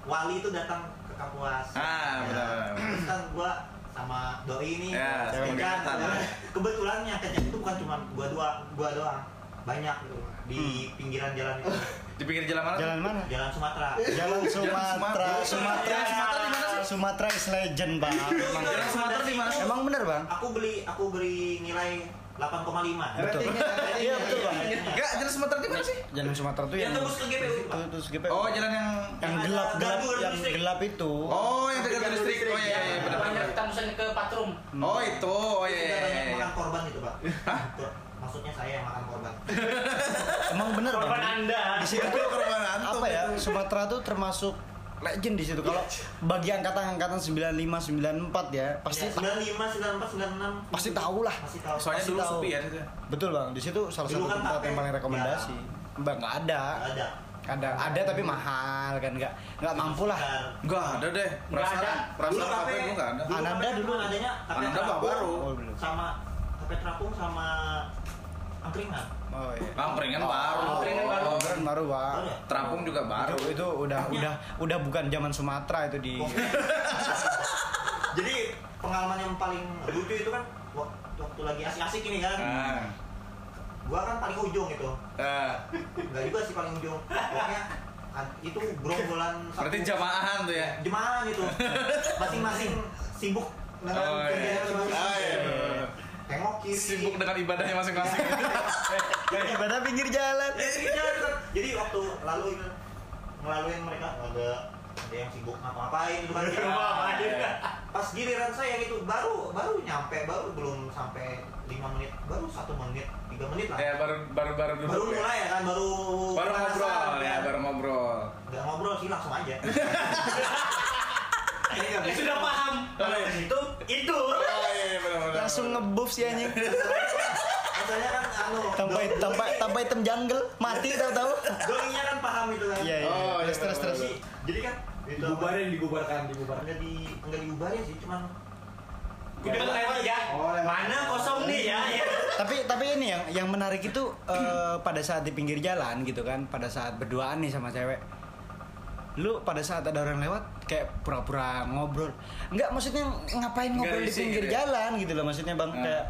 Speaker 6: Wali itu datang ke kampus
Speaker 2: Ah, benar, benar.
Speaker 6: terus kan gue sama Doi nih
Speaker 2: Ya,
Speaker 6: terus
Speaker 1: sama
Speaker 6: kan,
Speaker 2: kegiatan, ya.
Speaker 6: kebetulan yang kencang itu bukan cuma gue doang gue doang banyak gitu di
Speaker 2: Hmm.
Speaker 6: pinggiran jalan itu
Speaker 2: Di pinggir jalan mana?
Speaker 1: jalan mana
Speaker 6: jalan Sumatera
Speaker 1: Jalan Sumatera,
Speaker 2: Sumatera.
Speaker 1: Sumatera,
Speaker 2: Jalan Sumatera di mana sih?
Speaker 1: Sumatera is legend bang. Emang,
Speaker 2: Jalan Sumatera di mana?
Speaker 1: emang bener bang?
Speaker 6: aku beli aku beli nilai 8,5
Speaker 1: Betul. Iya betul bang.
Speaker 2: Enggak, jalan Sumatera di mana sih?
Speaker 1: Jalan Sumatera tuh yang
Speaker 6: Yang tembus ke GPU, Pak.
Speaker 1: Itu- terus GPU.
Speaker 2: Oh, jalan yang
Speaker 1: yang gelap gelap
Speaker 6: Gaduh,
Speaker 1: yang
Speaker 6: listrik.
Speaker 1: gelap itu.
Speaker 2: Oh, yang dekat listrik. Oh iya iya benar
Speaker 3: Banyak
Speaker 2: benar.
Speaker 3: tangusan ke patrum.
Speaker 1: Hmm.
Speaker 2: Oh itu, oh iya
Speaker 6: Kita
Speaker 2: iya
Speaker 6: banyak
Speaker 2: iya.
Speaker 6: makan korban gitu pak Tuh, maksudnya saya yang makan korban
Speaker 1: Emang bener
Speaker 3: Korban
Speaker 1: bang.
Speaker 3: anda.
Speaker 1: Di situ tuh
Speaker 2: Korban antum
Speaker 1: apa ya? Sumatera tuh termasuk legend di situ. Kalau bagi angkatan-angkatan 95 94 ya pasti
Speaker 6: Ya, 95, 94, 96
Speaker 1: pasti tahu lah.
Speaker 6: masih tahu
Speaker 2: Soalnya
Speaker 1: Pasti
Speaker 2: dulu
Speaker 1: tahu.
Speaker 2: sepi ya itu.
Speaker 1: Betul bang, di situ salah
Speaker 6: Dulu
Speaker 1: satu
Speaker 6: kan
Speaker 1: tempat
Speaker 6: tapi-
Speaker 1: yang paling rekomendasi. Bang nggak ada.
Speaker 6: Nggak ada
Speaker 1: Ada ada tapi mahal kan nggak nggak mampu lah.
Speaker 6: Sekitar
Speaker 2: Enggak ada deh. Perasaan
Speaker 3: ada.
Speaker 2: perasaan
Speaker 6: Dulu
Speaker 2: kafe
Speaker 6: kafe-
Speaker 2: lu enggak ada.
Speaker 6: Dulu
Speaker 1: Ananda
Speaker 6: kemarin
Speaker 1: dulu.
Speaker 6: cuma adanya tape
Speaker 2: Ananda
Speaker 6: terapung
Speaker 2: baru.
Speaker 1: Oh, belum.
Speaker 6: sama tape terapung sama angkringan.
Speaker 1: Oh iya.
Speaker 2: Angkringan
Speaker 1: Oh,
Speaker 2: Ah, baru.
Speaker 3: angkringan baru.
Speaker 2: Oh,
Speaker 1: Keren baru bang.
Speaker 6: Baru ya?
Speaker 2: Terapung juga baru. Oh.
Speaker 1: Itu, itu udah udah udah bukan zaman Sumatera itu di
Speaker 6: Jadi pengalaman yang paling lucu itu kan wak- waktu lagi asik-asik ini kan.
Speaker 2: Ah.
Speaker 6: Gua kan paling ujung itu.
Speaker 2: Ah.
Speaker 6: Enggak juga sih paling ujung. Pokoknya an- itu gerombolan satu-
Speaker 2: Berarti jamaahan tuh ya.
Speaker 6: jemaah itu. Masing-masing sibuk dengan
Speaker 2: Oh, iya. Ah,
Speaker 6: kerjaan
Speaker 2: iya,
Speaker 6: masing-masing.
Speaker 2: bener, bener.
Speaker 6: Tengok kiri.
Speaker 2: Sibuk dengan ibadahnya masing-masing.
Speaker 1: ibadah Ya, pinggir jalan.
Speaker 6: Eh, jadi waktu lalu itu ngelaluin mereka ada ada yang sibuk ngapa-ngapain gitu kan
Speaker 2: Iya,
Speaker 3: Ngapain?
Speaker 6: pas giliran saya yang itu baru baru nyampe baru belum sampai 5 menit baru satu menit tiga menit lah
Speaker 2: Ya baru baru baru duduk.
Speaker 6: baru
Speaker 2: ya.
Speaker 6: mulai ya kan baru
Speaker 2: Baru ngobrol
Speaker 6: pemanasan,
Speaker 2: ya,
Speaker 6: kan.
Speaker 2: baru ngobrol.
Speaker 6: nggak ngobrol sih langsung aja Jadi
Speaker 1: Iya,
Speaker 3: Ya
Speaker 6: nggak bisa.
Speaker 3: sudah paham. Kalau yang itu itu.
Speaker 2: Oh iya, iya, benar benar.
Speaker 1: Langsung ngebuff sih anjing.
Speaker 6: Masalahnya kan anu
Speaker 1: Tambah
Speaker 6: doi-
Speaker 1: tambah
Speaker 6: doi-
Speaker 1: tambah hitam jungle mati tahu-tahu.
Speaker 6: doinya kan paham itu kan
Speaker 1: Iya iya.
Speaker 2: Oh,
Speaker 1: Terus
Speaker 2: iya,
Speaker 1: terus terus.
Speaker 6: Jadi- jadi kan itu
Speaker 4: Dibubarin, dibubarkan, dibubarkan
Speaker 6: nggak di nggak diubahin sih cuman
Speaker 3: Kita lewat ya.
Speaker 4: Oh, lewat.
Speaker 3: Mana kosong nih ya? ya.
Speaker 1: Tapi tapi ini yang yang menarik itu eh, pada saat di pinggir jalan gitu kan, pada saat berduaan nih sama cewek. Lu pada saat ada orang lewat kayak pura-pura ngobrol. Enggak maksudnya ngapain
Speaker 2: Nggak
Speaker 1: ngobrol di
Speaker 2: risih
Speaker 1: pinggir
Speaker 2: gitu ya?
Speaker 1: jalan gitu loh maksudnya Bang
Speaker 2: Ah.
Speaker 1: kayak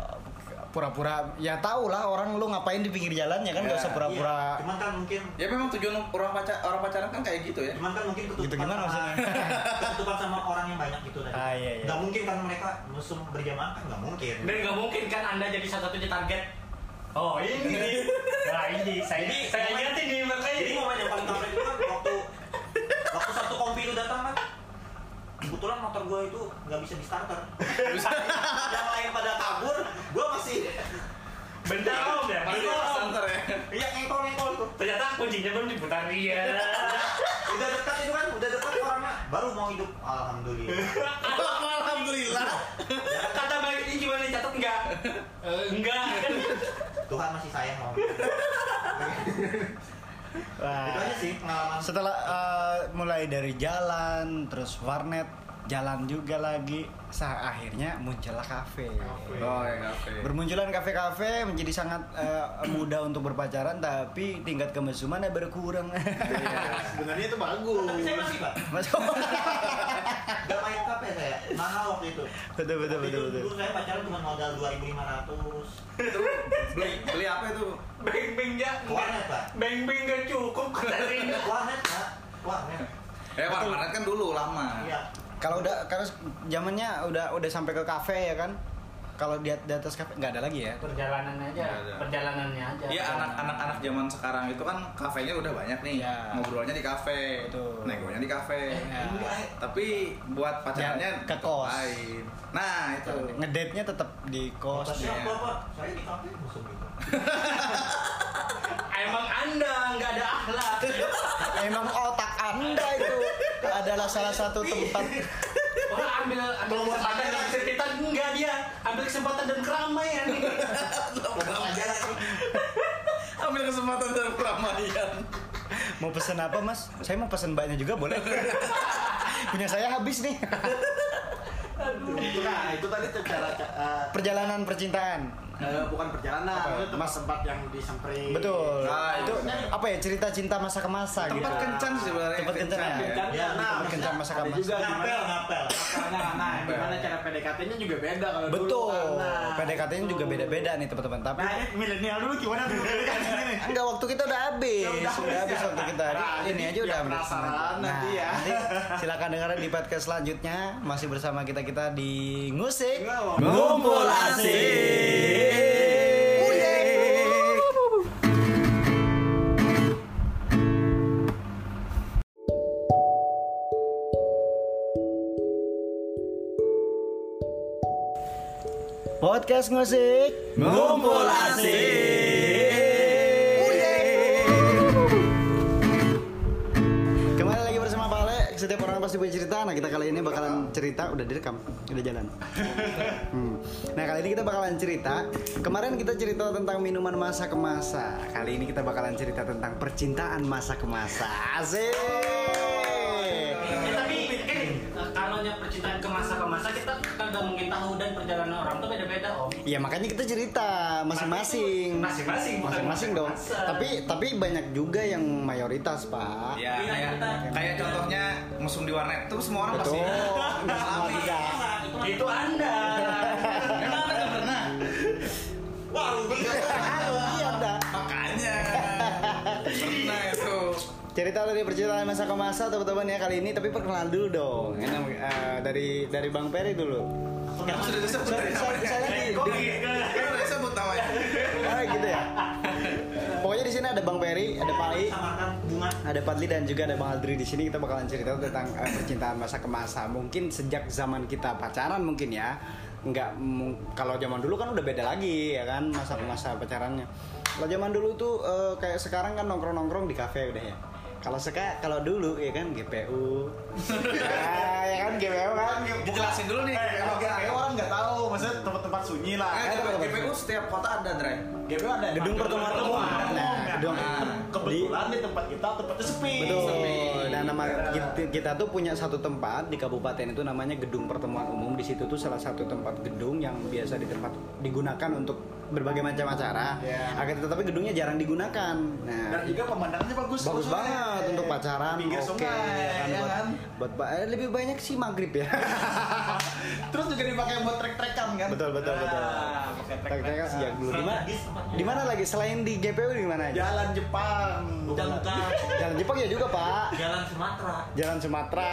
Speaker 1: pura-pura ya tau lah orang lu ngapain di pinggir jalan ya kan nggak
Speaker 2: Ya,
Speaker 1: usah pura-pura
Speaker 6: Iya, Cuman kan mungkin
Speaker 2: Ya memang tujuan orang pacar orang pacaran kan kayak gitu ya.
Speaker 6: Cuman kan mungkin ketutupan
Speaker 1: Gitu gimana
Speaker 6: sama,
Speaker 1: maksudnya?
Speaker 6: ketutupan sama orang yang banyak gitu tadi.
Speaker 1: Ah, iya, iya.
Speaker 6: Gak mungkin kan mereka musuh berjamaah kan gak mungkin.
Speaker 3: Dan nggak mungkin kan anda jadi satu-satunya target. Oh ini nih. Nah ini saya ini saya ingatin nih makanya.
Speaker 6: Eh, Jadi momen yang paling keren itu kan waktu waktu satu kompi itu datang kan. Kebetulan motor gue itu nggak bisa di starter. yang lain pada kabur, gue masih
Speaker 3: Bentar om
Speaker 1: Iya,
Speaker 3: ya.
Speaker 2: Pasti
Speaker 3: Bentar, Om.
Speaker 2: santer ya.
Speaker 6: iya ngekol ngekol tuh.
Speaker 3: Ternyata kuncinya belum diputar iya. dia.
Speaker 4: Eh,
Speaker 6: Udah dekat itu kan, udah dekat orangnya. Baru mau hidup, alhamdulillah.
Speaker 2: Alhamdulillah.
Speaker 3: Kata baik ini gimana catat enggak? Eh, enggak.
Speaker 6: Tuhan masih sayang sama gue.
Speaker 1: Wah.
Speaker 6: Itu aja sih pengalaman.
Speaker 1: setelah eh, mulai dari jalan terus warnet jalan juga lagi sah akhirnya muncullah kafe
Speaker 2: Oh, ya, oke.
Speaker 1: bermunculan kafe-kafe menjadi sangat eh, mudah untuk berpacaran tapi tingkat kemesumannya berkurang
Speaker 4: Sebenarnya itu bagus.
Speaker 6: Tapi saya masih pak,
Speaker 1: Masuk.
Speaker 6: gak main kafe saya, mahal waktu itu.
Speaker 1: betul betul betul
Speaker 6: Waktu itu
Speaker 1: betul
Speaker 6: Dulu saya pacaran cuma modal 2.500
Speaker 2: Itu beli beli apa itu?
Speaker 3: Beng-bengnya
Speaker 6: Warnet pak,
Speaker 3: Beng-beng gak cukup katanya.
Speaker 6: warnet pak, warnet.
Speaker 2: Eh, warnet kan dulu lama.
Speaker 6: Iya.
Speaker 1: kalau udah karena zamannya udah udah sampai ke kafe ya kan kalau di, di atas kafe nggak ada lagi ya
Speaker 5: Perjalanan aja,
Speaker 2: Nggak ada.
Speaker 5: perjalanannya aja.
Speaker 3: Ya,
Speaker 2: Iya anak-anak-anak zaman sekarang itu kan kafenya udah banyak nih,
Speaker 1: Iya.
Speaker 2: ngobrolnya di kafe,
Speaker 1: Betul.
Speaker 2: negonya di kafe.
Speaker 1: Iya.
Speaker 2: Tapi buat pacarnya
Speaker 1: Ya, ke kos.
Speaker 2: lain. Nah itu.
Speaker 1: ngedate nya tetap di kos
Speaker 6: Tapi
Speaker 2: Iya.
Speaker 6: apa pak, saya di kafe musuh gitu.
Speaker 3: Emang anda nggak ada akhlak.
Speaker 1: Emang otak anda itu adalah salah satu tempat
Speaker 3: Orang ambil ambil kesempatan dan kesempatan enggak dia ambil kesempatan dan keramaian.
Speaker 2: Ambil kesempatan
Speaker 1: Iya.
Speaker 2: dalam keramaian.
Speaker 1: mau pesen apa mas? Saya mau pesen banyak juga boleh. Punya saya habis nih.
Speaker 4: Itu nah, itu tadi tuh cara eh,
Speaker 1: Perjalanan percintaan.
Speaker 4: eh, bukan perjalanan,
Speaker 1: Apa?
Speaker 4: itu tempat-tempat yang disemperin.
Speaker 1: Betul.
Speaker 2: Nah,
Speaker 1: itu
Speaker 2: itu.
Speaker 1: apa ya cerita cinta masa ke masa gitu.
Speaker 2: Tempat kencan sih sebenarnya.
Speaker 1: Tempat kencan ya.
Speaker 4: Kencan,
Speaker 6: Ya,
Speaker 4: nah,
Speaker 1: tempat kencan masa ke
Speaker 4: ada
Speaker 1: masa.
Speaker 4: juga
Speaker 6: Ngapel,
Speaker 4: gimana-
Speaker 6: ngapel.
Speaker 4: Nah, nah, gimana cara PDKT-nya juga beda kalau dulu.
Speaker 1: Betul.
Speaker 4: karena-
Speaker 1: PDKT-nya juga beda-beda nih teman-teman. Tapi
Speaker 4: Nah, ini milenial dulu gimana tuh PDKT-nya nih?
Speaker 1: Nah, enggak waktu kita udah habis.
Speaker 4: Ya udah
Speaker 1: Udah,
Speaker 4: habis
Speaker 1: habis
Speaker 4: ya.
Speaker 1: waktu kita. Jadi
Speaker 4: Nah,
Speaker 1: ini
Speaker 4: jadi
Speaker 1: aja udah
Speaker 4: biar
Speaker 1: habis. Nah,
Speaker 4: penasaran nanti ya.
Speaker 1: silakan dengerin di podcast selanjutnya masih bersama kita kita di ngusik.
Speaker 4: Ngumpul asik.
Speaker 2: Oh, iya.
Speaker 1: Uyek. Podcast ngusik.
Speaker 2: Ngumpul asik.
Speaker 1: Kembali lagi bersama Pak Ale. Setiap orang pasti punya cerita. Nah, kita kali ini bakalan cerita udah direkam, udah jalan. Hmm. Nah, kali ini kita bakalan cerita. Kemarin kita cerita tentang minuman masa ke masa. Kali ini kita bakalan cerita tentang percintaan masa ke masa. Asik.
Speaker 3: Ya, tapi kan kalau nya percintaan ke masa ke masa kita kagak mungkin tahu dan perjalanan orang tuh beda-beda om.
Speaker 1: Ya makanya kita cerita masing-masing.
Speaker 3: Masing-masing, bukan
Speaker 1: Masing-masing dong.
Speaker 3: masa-masa.
Speaker 1: Tapi tapi banyak juga yang mayoritas, Pak.
Speaker 2: Ya, kayak, kayak contohnya mesum di warnet itu semua orang pasti
Speaker 1: Betul. Nggak semua bisa.
Speaker 3: Itu anda.
Speaker 2: Emang anda nggak pernah?
Speaker 6: Wah, lu gitu.
Speaker 1: Iya, dah.
Speaker 2: Makanya. Pernah itu.
Speaker 1: Cerita dari percintaan masa ke masa teman-teman ya kali ini tapi perkenalan dulu dong. Enak, eh, dari dari Bang Peri dulu.
Speaker 2: Kamu sudah disebut
Speaker 1: Sorry,
Speaker 2: tadi
Speaker 1: sorry,
Speaker 2: namanya.
Speaker 1: saya lagi-
Speaker 2: Kok Kamu udah disebut namanya.
Speaker 1: Ah, gitu ya. Pokoknya di sini ada Bang Peri, ada Pai,
Speaker 6: Samarkan bunga.
Speaker 1: ada Padli dan juga ada Bang Aldri di sini kita bakalan cerita tentang eh, percintaan masa ke masa. Mungkin sejak zaman kita pacaran mungkin ya. Enggak mung- kalau zaman dulu kan udah beda lagi ya kan masa ke masa pacarannya. Kalau zaman dulu tuh eh, kayak sekarang kan nongkrong-nongkrong di kafe udah ya. Kalau seka kalau dulu ya kan GPU. ya, ya kan GPU kan.
Speaker 2: Dijelasin dulu nih.
Speaker 4: Eh, kalau
Speaker 2: Kayak
Speaker 4: GPU orang nggak tahu, maksudnya tempat-tempat sunyi lah.
Speaker 2: Eh, GPU setiap kota ada, Dre.
Speaker 4: GPU ada
Speaker 1: Gedung pertemuan umum. Nah, gedung
Speaker 2: Nah.
Speaker 4: kebetulan di tempat kita tempatnya sepi
Speaker 1: Betul. Nah, nama kita, kita tuh punya satu tempat di kabupaten itu namanya Gedung Pertemuan Umum. Di situ tuh salah satu tempat gedung yang biasa di tempat digunakan untuk berbagai macam acara.
Speaker 4: Iya.
Speaker 1: Akan tetapi gedungnya jarang digunakan. Nah,
Speaker 4: dan juga pemandangannya bagus
Speaker 1: bagus
Speaker 4: maksudnya.
Speaker 1: banget untuk pacaran.
Speaker 4: Di pinggir
Speaker 1: Oke.
Speaker 4: sungai
Speaker 1: ya kan,
Speaker 4: ya
Speaker 1: buat,
Speaker 4: kan?
Speaker 1: buat ba- eh, lebih banyak sih maghrib ya.
Speaker 4: terus juga dipakai buat trek-trekan kan
Speaker 1: betul betul betul. Kita sejak dulu. Di mana? Di mana lagi selain di GPU di mana aja?
Speaker 4: jalan Jepang
Speaker 6: Bukan bukan
Speaker 1: Jalan Jepang ya juga, Pak.
Speaker 6: jalan Sumatera.
Speaker 1: Jalan Sumatera.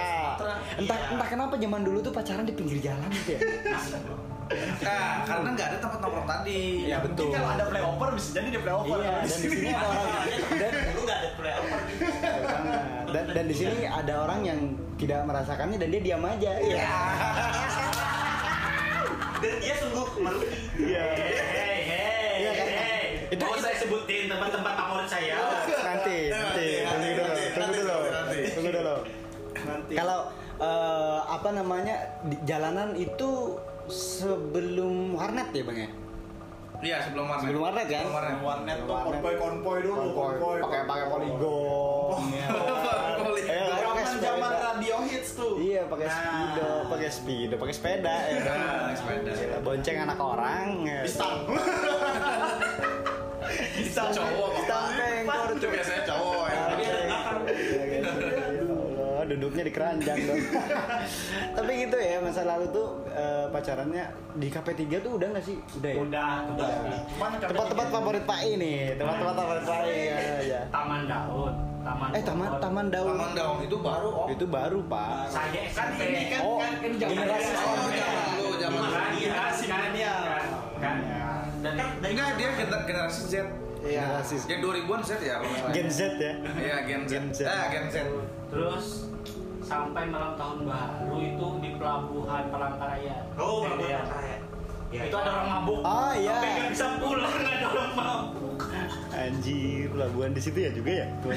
Speaker 1: Entah
Speaker 6: Iya.
Speaker 1: entah kenapa zaman dulu tuh pacaran di pinggir jalan gitu ya.
Speaker 2: Nah, karena nggak ada tempat nongkrong tadi. kan-
Speaker 1: Iya
Speaker 4: mungkin kalau ada playover bisa jadi dia playover
Speaker 1: Iya, dan di sini ada orang dan,
Speaker 6: Lu nggak ada playover.
Speaker 1: dan, dan di sini ada orang yang tidak merasakannya dan dia diam aja. Iya.
Speaker 6: Dan dia sungguh merugi. Hei hei
Speaker 1: Iya kan?
Speaker 6: hei.
Speaker 1: Itu-
Speaker 6: Mau
Speaker 1: itu- Iya.
Speaker 6: saya sebutin tempat-tempat favorit saya.
Speaker 1: Nanti, nanti, tunggu dulu, tunggu dulu, tunggu dulu.
Speaker 4: nanti
Speaker 1: Kalau eh, apa namanya di jalanan itu sebelum warnet ya bang ya?
Speaker 2: Iya, sebelum warnet.
Speaker 1: Sebelum warnet kan?
Speaker 2: Sebelum warnet.
Speaker 4: warnet tuh konvoy konvoy dulu Oh. konvoy
Speaker 1: pakai pakai poligon. ya.
Speaker 2: Poligon.
Speaker 1: Eh, pakai
Speaker 4: zaman
Speaker 1: sepeda.
Speaker 4: zaman radio hits tuh
Speaker 1: Iya pakai
Speaker 4: Nah.
Speaker 1: speedo, pakai speedo, pakai sepeda ya. kan?
Speaker 2: Nah, sepeda.
Speaker 1: Gila, Bonceng anak orang. ya.
Speaker 4: Bistang. Bistang.
Speaker 2: Cowok apa?
Speaker 1: Bistang pengkor.
Speaker 2: Itu biasanya cowok ya.
Speaker 1: Tapi
Speaker 6: ada belakang.
Speaker 1: duduknya di keranjang dong. Tapi gitu ya masa lalu tuh eh, pacarannya di KP3 tuh udah nggak sih? Udah ya.
Speaker 3: Udah, udah.
Speaker 4: Cuman kata-
Speaker 1: Tempat-tempat favorit Pak I nih, tempat-tempat favorit Pak I ya, ya.
Speaker 3: Taman Daun, Taman
Speaker 1: Eh taman
Speaker 3: Pohon.
Speaker 1: taman daun
Speaker 2: Taman Daun itu baru om.
Speaker 1: itu baru Pak.
Speaker 3: Saya
Speaker 4: kan
Speaker 3: SMP.
Speaker 4: ini kan
Speaker 1: Oh,
Speaker 4: kan kan zaman
Speaker 1: generasi
Speaker 4: dulu.
Speaker 2: Oh, zaman dulu, zaman dulu.
Speaker 3: Kan, kan, kan, kan, kan. Dan
Speaker 6: Kan dari
Speaker 2: Enggak, dia gener- generasi Z.
Speaker 1: Iya. Generasi
Speaker 2: Gen 2000-an Z ya kalau nggak salah.
Speaker 1: Gen Z ya.
Speaker 2: Iya, Gen Z.
Speaker 1: Gen Z.
Speaker 2: Ah, Gen Z.
Speaker 3: terus sampai malam tahun baru itu di pelabuhan Palangkaraya.
Speaker 6: Oh,
Speaker 3: Dan
Speaker 6: bagus
Speaker 3: dia-
Speaker 6: ya. Ya,
Speaker 3: Itu ada orang mabuk.
Speaker 1: Ah
Speaker 3: Sampai nggak
Speaker 1: iya.
Speaker 3: bisa pulang ada orang mabuk.
Speaker 1: Anjir, pelabuhan di situ ya juga ya. Tuh.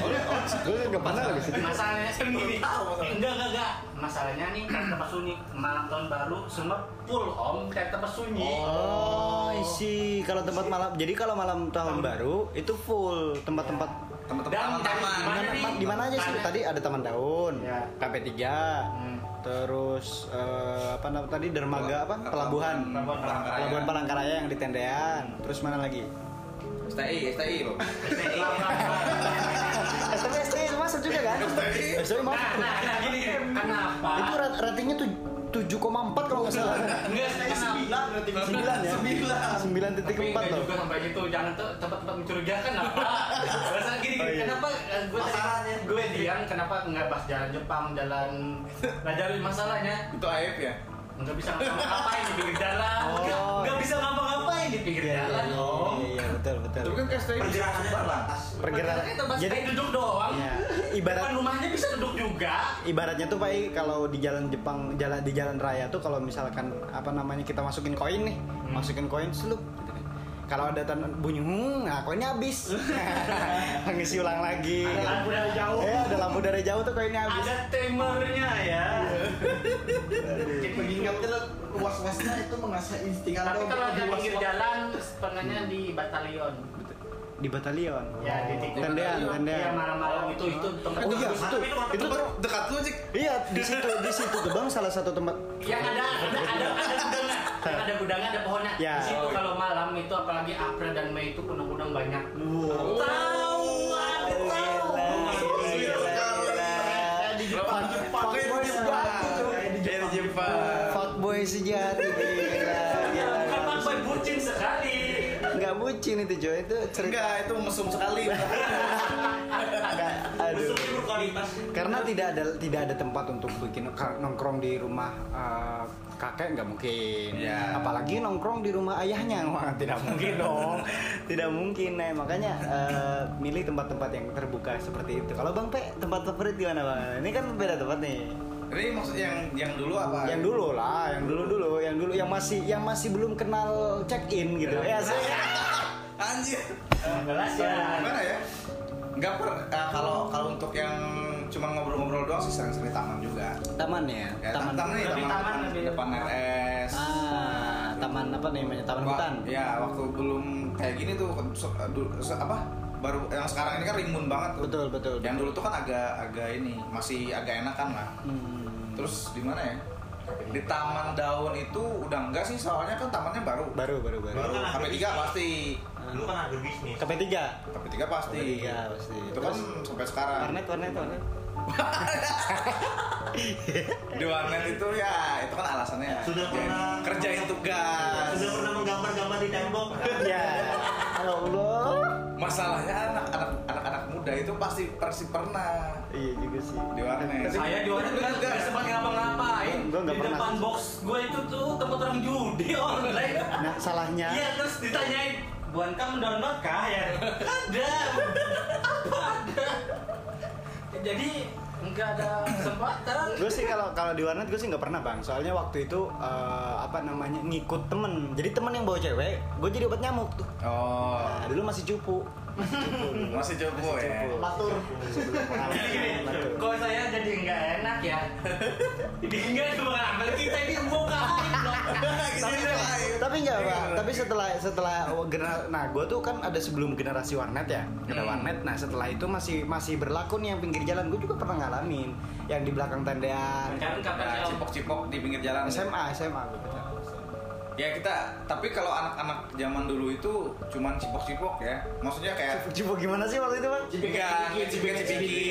Speaker 1: Gue nggak pernah ke situ.
Speaker 3: Masalahnya sendiri. Eh, Enggak enggak enggak. Masalahnya nih tenda pesunyi malam tahun baru semua full om tenda pesunyi.
Speaker 1: Oh, isi kalau tempat malam. Jadi kalau malam tahun baru itu full tempat-tempat
Speaker 2: Teman-teman
Speaker 3: Dan
Speaker 2: taman-taman.
Speaker 3: dari-
Speaker 1: Mana-
Speaker 3: nih?
Speaker 1: ma- di mana aja sih?
Speaker 3: Tanya.
Speaker 1: Tadi ada Taman Daun,
Speaker 3: Ya.
Speaker 1: KP3,
Speaker 3: Hmm.
Speaker 1: terus eh, apa namanya tadi dermaga apa? Pelabuhan.
Speaker 3: Pelabuhan Palangkaraya.
Speaker 1: Pelabuhan Palangkaraya yang di tendean. Terus mana lagi?
Speaker 2: STI, STI loh.
Speaker 1: STB STB masuk juga kan? STB
Speaker 3: Nah,
Speaker 1: masuk.
Speaker 3: nah, nah gini, kenapa?
Speaker 1: Itu rat- ratingnya tuh 7,4 kalau nggak salah.
Speaker 3: Enggak,
Speaker 6: iya.
Speaker 3: kenapa?
Speaker 4: Sembilan berarti
Speaker 1: Sembilan ya? Sembilan titik
Speaker 3: Tapi
Speaker 1: empat
Speaker 3: enggak
Speaker 1: loh.
Speaker 3: juga sampai gitu, jangan tuh tempat-tempat mencurigakan apa. Rasanya gini, gini
Speaker 1: Oh, iya.
Speaker 3: kenapa eh, gue
Speaker 6: Masalahnya.
Speaker 3: gue diam, kenapa nggak pas jalan Jepang, jalan nah jalan masalahnya
Speaker 2: Itu aib ya.
Speaker 3: nggak bisa ngapa-ngapain di pinggir jalan, nggak
Speaker 1: Oh.
Speaker 3: nggak bisa ngapa-ngapain di pinggir
Speaker 1: Iya, iya,
Speaker 3: jalan.
Speaker 1: iya,
Speaker 3: Om.
Speaker 1: iya, iya, betul betul.
Speaker 2: Tapi kan ke STI
Speaker 6: pergerakannya terbatas.
Speaker 1: Pergerakan.
Speaker 3: Makanya tempat
Speaker 1: Jadi
Speaker 3: saya duduk doang.
Speaker 1: Iya.
Speaker 3: Ibarat
Speaker 1: Ibarat
Speaker 3: rumahnya bisa duduk juga.
Speaker 1: ibaratnya tuh Pak I, kalau di jalan Jepang jalan di jalan raya tuh kalau misalkan apa namanya kita masukin koin nih
Speaker 3: Hmm.
Speaker 1: masukin koin seluk gitu kan. kalau ada tan- bunyi hmm, nah koinnya habis ngisi ulang lagi
Speaker 3: Ada lampu dari jauh.
Speaker 1: eh ada lampu dari jauh tuh koinnya habis
Speaker 3: Ada timernya
Speaker 1: Iya.
Speaker 3: ya.
Speaker 4: Mengingatkan lo was-wasnya itu mengasah insting anda
Speaker 3: Tapi
Speaker 4: untuk
Speaker 3: kalau di
Speaker 4: lebih
Speaker 3: pinggir
Speaker 4: was-was.
Speaker 3: jalan setengahnya di batalion.
Speaker 1: di batalion
Speaker 3: Ya di titik
Speaker 1: Tendean, tendean.
Speaker 3: Iya malam-malam itu itu tempat
Speaker 1: oh iya
Speaker 3: bagus.
Speaker 1: itu itu tuh
Speaker 2: dekat lu, Cik.
Speaker 1: iya di situ di situ tuh bang salah satu tempat
Speaker 3: Yang Ya, ada ada ada ada gudangnya, Yang ada gudangnya ada pohonnya.
Speaker 1: Ya.
Speaker 3: Di situ kalau malam itu apalagi April dan Mei itu kunang-kunang banyak.
Speaker 1: wow.
Speaker 3: Tahu, ada tahu.
Speaker 1: Fuckboy sejati
Speaker 2: Gen Jepang.
Speaker 1: Fuckboy sejati gila,
Speaker 3: Ya,
Speaker 1: gila.
Speaker 3: Bukan fuckboy, bucin sekali.
Speaker 1: nggak bucin itu coy itu cerita
Speaker 2: Enggak, itu mesum sekali.
Speaker 1: nggak aduh
Speaker 6: Musuhnya berkualitas.
Speaker 1: karena tidak ada tidak ada tempat untuk bikin ka- nongkrong di rumah eh, kakek nggak mungkin
Speaker 2: Iya.
Speaker 1: apalagi nongkrong di rumah ayahnya wah tidak mungkin dong tidak mungkin nah makanya eh, milih tempat-tempat yang terbuka seperti itu kalau bang pe tempat favorit gimana bang ini kan beda tempat nih
Speaker 2: Ini maksud yang yang dulu apa?
Speaker 1: yang dulu lah yang dulu dulu yang dulu yang masih yang masih belum kenal check in gitu ya saya
Speaker 2: Anjir.
Speaker 3: 15
Speaker 1: Iya.
Speaker 3: ya.
Speaker 2: Gimana Iya. ya? Enggak per eh, kalau kalau untuk yang cuma ngobrol-ngobrol doang sih sering-sering di taman juga.
Speaker 1: taman ya
Speaker 2: Ya, taman, taman, nih,
Speaker 3: Lebih
Speaker 2: taman,
Speaker 3: taman,
Speaker 2: depan-
Speaker 3: lebih-
Speaker 2: depan RS.
Speaker 1: Ah, taman apa namanya? Taman
Speaker 2: Wa-
Speaker 1: hutan.
Speaker 2: Ya, waktu belum kayak gini tuh so- du- se- apa? baru yang sekarang ini kan rimbun banget tuh.
Speaker 1: Betul, betul,
Speaker 2: Yang
Speaker 1: betul.
Speaker 2: dulu tuh kan agak agak ini masih agak enakan lah.
Speaker 1: Hmm,
Speaker 2: Terus di mana ya? Di Taman Daun itu udah enggak sih soalnya kan tamannya baru.
Speaker 1: baru baru baru.
Speaker 2: Baru
Speaker 6: Kan
Speaker 2: HP3
Speaker 6: agak
Speaker 2: pasti.
Speaker 6: Dulu kan agribisnis.
Speaker 1: KP3.
Speaker 2: HP3 pasti.
Speaker 1: KP3 pasti.
Speaker 2: Itu kan sampai sekarang.
Speaker 1: Warnet warnet warnet.
Speaker 2: Di warnet itu ya itu kan alasannya.
Speaker 6: Sudah
Speaker 2: Kerjain-
Speaker 6: pernah-
Speaker 2: kerjain tugas.
Speaker 6: Sudah pernah menggambar-gambar di tembok?
Speaker 1: Ya. Ya Allah.
Speaker 2: Masalahnya anak anak anak anak muda itu pasti pasti pernah
Speaker 1: Iya juga sih.
Speaker 2: di warnet.
Speaker 3: Saya di warnet kan gak sempat ngapa-ngapain.
Speaker 1: Gua nggak
Speaker 3: Di
Speaker 1: pernah.
Speaker 3: depan box gue itu tuh tempat orang judi online.
Speaker 1: Nah, salahnya
Speaker 3: Iya terus ditanyain, Buan kamu download kah ya? Ada. Apa ada? Jadi nggak ada kesempatan.
Speaker 1: gue sih kalau kalau di warnet gue sih nggak pernah bang soalnya waktu itu eh, apa namanya ngikut temen jadi temen yang bawa cewek gue jadi obat nyamuk tuh
Speaker 2: Oh,
Speaker 1: nah, dulu masih cupu masih cupu dulu.
Speaker 2: masih cukup ya.
Speaker 1: cupu.
Speaker 4: Latur.
Speaker 1: Sebelum pengalaman,
Speaker 3: Gini-gini,
Speaker 1: latur.
Speaker 3: Kok saya jadi nggak enak ya? Jadi nggak cuma ngambil kita ini buka
Speaker 1: tapi tapi nggak pak
Speaker 2: Iya,
Speaker 1: tapi setelah setelah genera- nah gue tuh kan ada sebelum generasi warnet ya ada warnet nah setelah itu masih masih berlaku nih yang pinggir jalan gue juga pernah ngalamin yang di belakang tandaan
Speaker 3: Sekarang kapan
Speaker 2: Nah,
Speaker 3: ya?
Speaker 2: cipok-cipok di pinggir jalan.
Speaker 1: SMA SMA gue pacar.
Speaker 2: Ya kita, tapi kalau anak-anak zaman dulu itu cuman cipok-cipok ya. Maksudnya kayak
Speaker 1: Cipu gimana sih waktu itu bang?
Speaker 2: enggak cipik-cipiki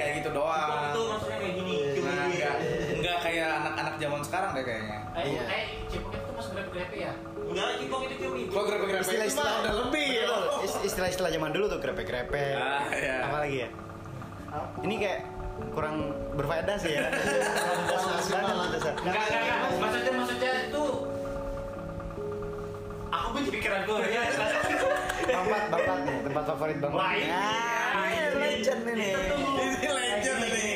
Speaker 2: kayak gitu
Speaker 6: Tembok
Speaker 2: doang.
Speaker 6: itu maksudnya kayak gini.
Speaker 1: Iya,
Speaker 2: Nah, enggak enggak kayak anak-anak zaman sekarang deh kayaknya.
Speaker 3: Eh, eh, cipok itu masuk grepe-grepe ya?
Speaker 6: Enggak, gitu cipok itu cium itu.
Speaker 2: Kalau grepe-grepe itu mah
Speaker 1: Istilah-istilah
Speaker 2: udah lebih ya.
Speaker 1: Betul. Ist- Istilah-istilah zaman dulu tuh grepe-grepe.
Speaker 2: Ah, iya.
Speaker 1: Apa lagi ya? Ini kayak kurang berfaedah sih ya. Kurang berfaedah lah dasar.
Speaker 3: Enggak, enggak, enggak. Maksudnya, maksudnya itu Aku benci pikiran gue ya.
Speaker 1: Babat, babat nih, tempat favorit Bang.
Speaker 3: Wah, ini-
Speaker 1: Ah, ini legend ini.
Speaker 2: Ini legend ini.
Speaker 1: Iya,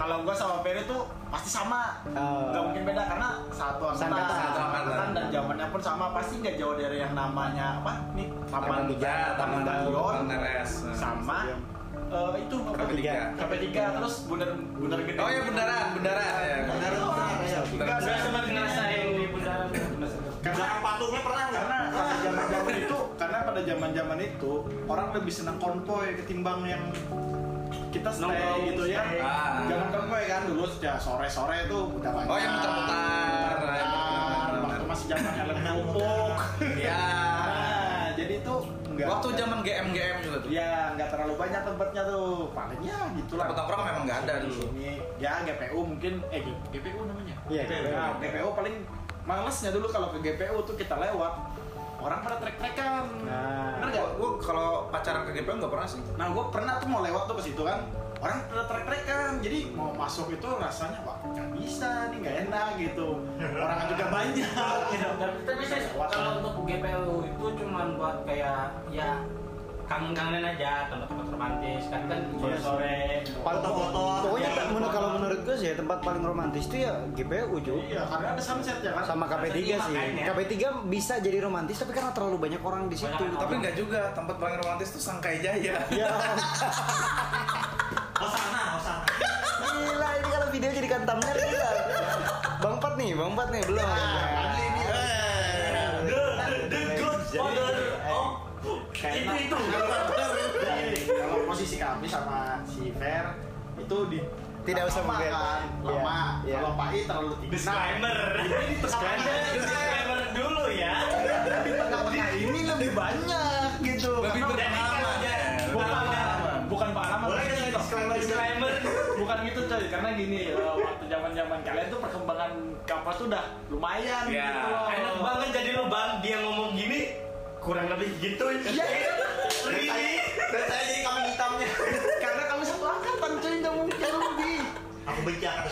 Speaker 4: Kalau gua sama Peri tuh pasti sama.
Speaker 1: Oh.
Speaker 4: Gak mungkin beda karena satu angkatan,
Speaker 1: Sangkatan.
Speaker 4: satu angkatan dan zamannya pun sama. Pasti nggak jauh dari yang namanya apa nih Taman Hujan, Taman Balon,
Speaker 2: Taman Neres.
Speaker 4: sama eh, itu
Speaker 2: Sampai tiga.
Speaker 4: sampai tiga terus bundar bundar gede.
Speaker 2: Oh ya beneran, beneran ya.
Speaker 4: Bundar
Speaker 1: Iya,
Speaker 4: besar.
Speaker 2: Bundar
Speaker 4: Nggak,
Speaker 3: Udah
Speaker 4: nggak.
Speaker 3: sempat ngerasain di bundaran.
Speaker 4: Karena
Speaker 6: Belakang patungnya pernah nggak?
Speaker 4: karena pada zaman zaman itu karena pada zaman zaman itu orang lebih senang konvoy ketimbang yang kita
Speaker 3: Nongkrong,
Speaker 4: stay gitu ya
Speaker 3: stay.
Speaker 2: Ah.
Speaker 4: jangan konvoy kan dulu ya sore sore tuh udah banyak
Speaker 2: Oh, yang muter-muter. Iya,
Speaker 4: Muter-muter. waktu masih zaman helm kerupuk
Speaker 2: Ya.
Speaker 4: nah jadi itu nggak
Speaker 2: Waktu zaman GM GM juga
Speaker 1: Iya.
Speaker 2: tuh.
Speaker 4: ya nggak terlalu banyak tempatnya tuh palingnya gitulah
Speaker 2: Tempat nongkrong memang nggak ada dulu.
Speaker 4: Sini. ya GPU mungkin eh G- GPU namanya
Speaker 1: Iya, GPU.
Speaker 4: Nah, GPU paling malesnya dulu kalau ke GPU tuh kita lewat orang pada trek-trekan.
Speaker 1: Nah.
Speaker 4: Bener nggak?
Speaker 2: Gua, gua kalau pacaran ke GPM nggak pernah sih.
Speaker 4: Nah, gue pernah tuh mau lewat tuh ke situ kan, orang pada trek-trekan. Jadi mau masuk itu rasanya wah nggak bisa nih nggak enak gitu. Orang juga banyak. gitu.
Speaker 3: Tapi saya kalau untuk GPU itu cuma buat kayak ya kangen-kangenan aja tempat-tempat romantis kan kan sore-sore.
Speaker 6: Foto-foto.
Speaker 1: Pokoknya tak- menurut kalau menurut gue sih ya, tempat paling romantis itu ya GPU juga.
Speaker 4: Iya, karena ada sunset ya kan.
Speaker 1: Sama KP3 sih.
Speaker 3: Makanya.
Speaker 1: KP3 bisa jadi romantis tapi karena terlalu banyak orang di situ.
Speaker 3: Banyak
Speaker 2: Tapi nggak juga, tempat paling romantis tuh Sangkai Jaya.
Speaker 1: Ya.
Speaker 6: Hosana, Hosana.
Speaker 1: Gila ini kalau video jadi thumbnail gila. Bang Pat nih, Bang Pat nih belum. Eh,
Speaker 6: The, the, the good father of itu itu.
Speaker 4: Jadi, kalau posisi kami sama si Fer itu di
Speaker 1: Tidak usah
Speaker 4: lama
Speaker 1: mungkin.
Speaker 4: kan,
Speaker 1: Iya,
Speaker 4: lama.
Speaker 1: iya.
Speaker 4: Kalau Pak I terlalu tinggi.
Speaker 3: Disclaimer.
Speaker 4: ini
Speaker 3: Ada
Speaker 4: terus
Speaker 3: disclaimer dulu ya.
Speaker 4: di tengah-tengah ini lebih banyak gitu.
Speaker 2: Lebih
Speaker 1: Iya.
Speaker 2: berpengalaman.
Speaker 4: Karena bukan pengalaman, bukan pengalaman.
Speaker 6: Boleh
Speaker 4: tapi
Speaker 6: kita
Speaker 4: gitu.
Speaker 6: disclaimer,
Speaker 3: disclaimer.
Speaker 4: Bukan gitu coy, karena gini eh, waktu zaman-zaman kalian tuh perkembangan kapal tuh udah lumayan
Speaker 2: Iya.
Speaker 4: gitu. loh.
Speaker 3: Enak banget jadi lo bang dia ngomong gini kurang lebih gitu. Iya. Really?
Speaker 6: Dan saya jadi kambing hitamnya.
Speaker 4: Karena kami satu angkatan coy, nggak mungkin lebih.
Speaker 6: Aku benci akan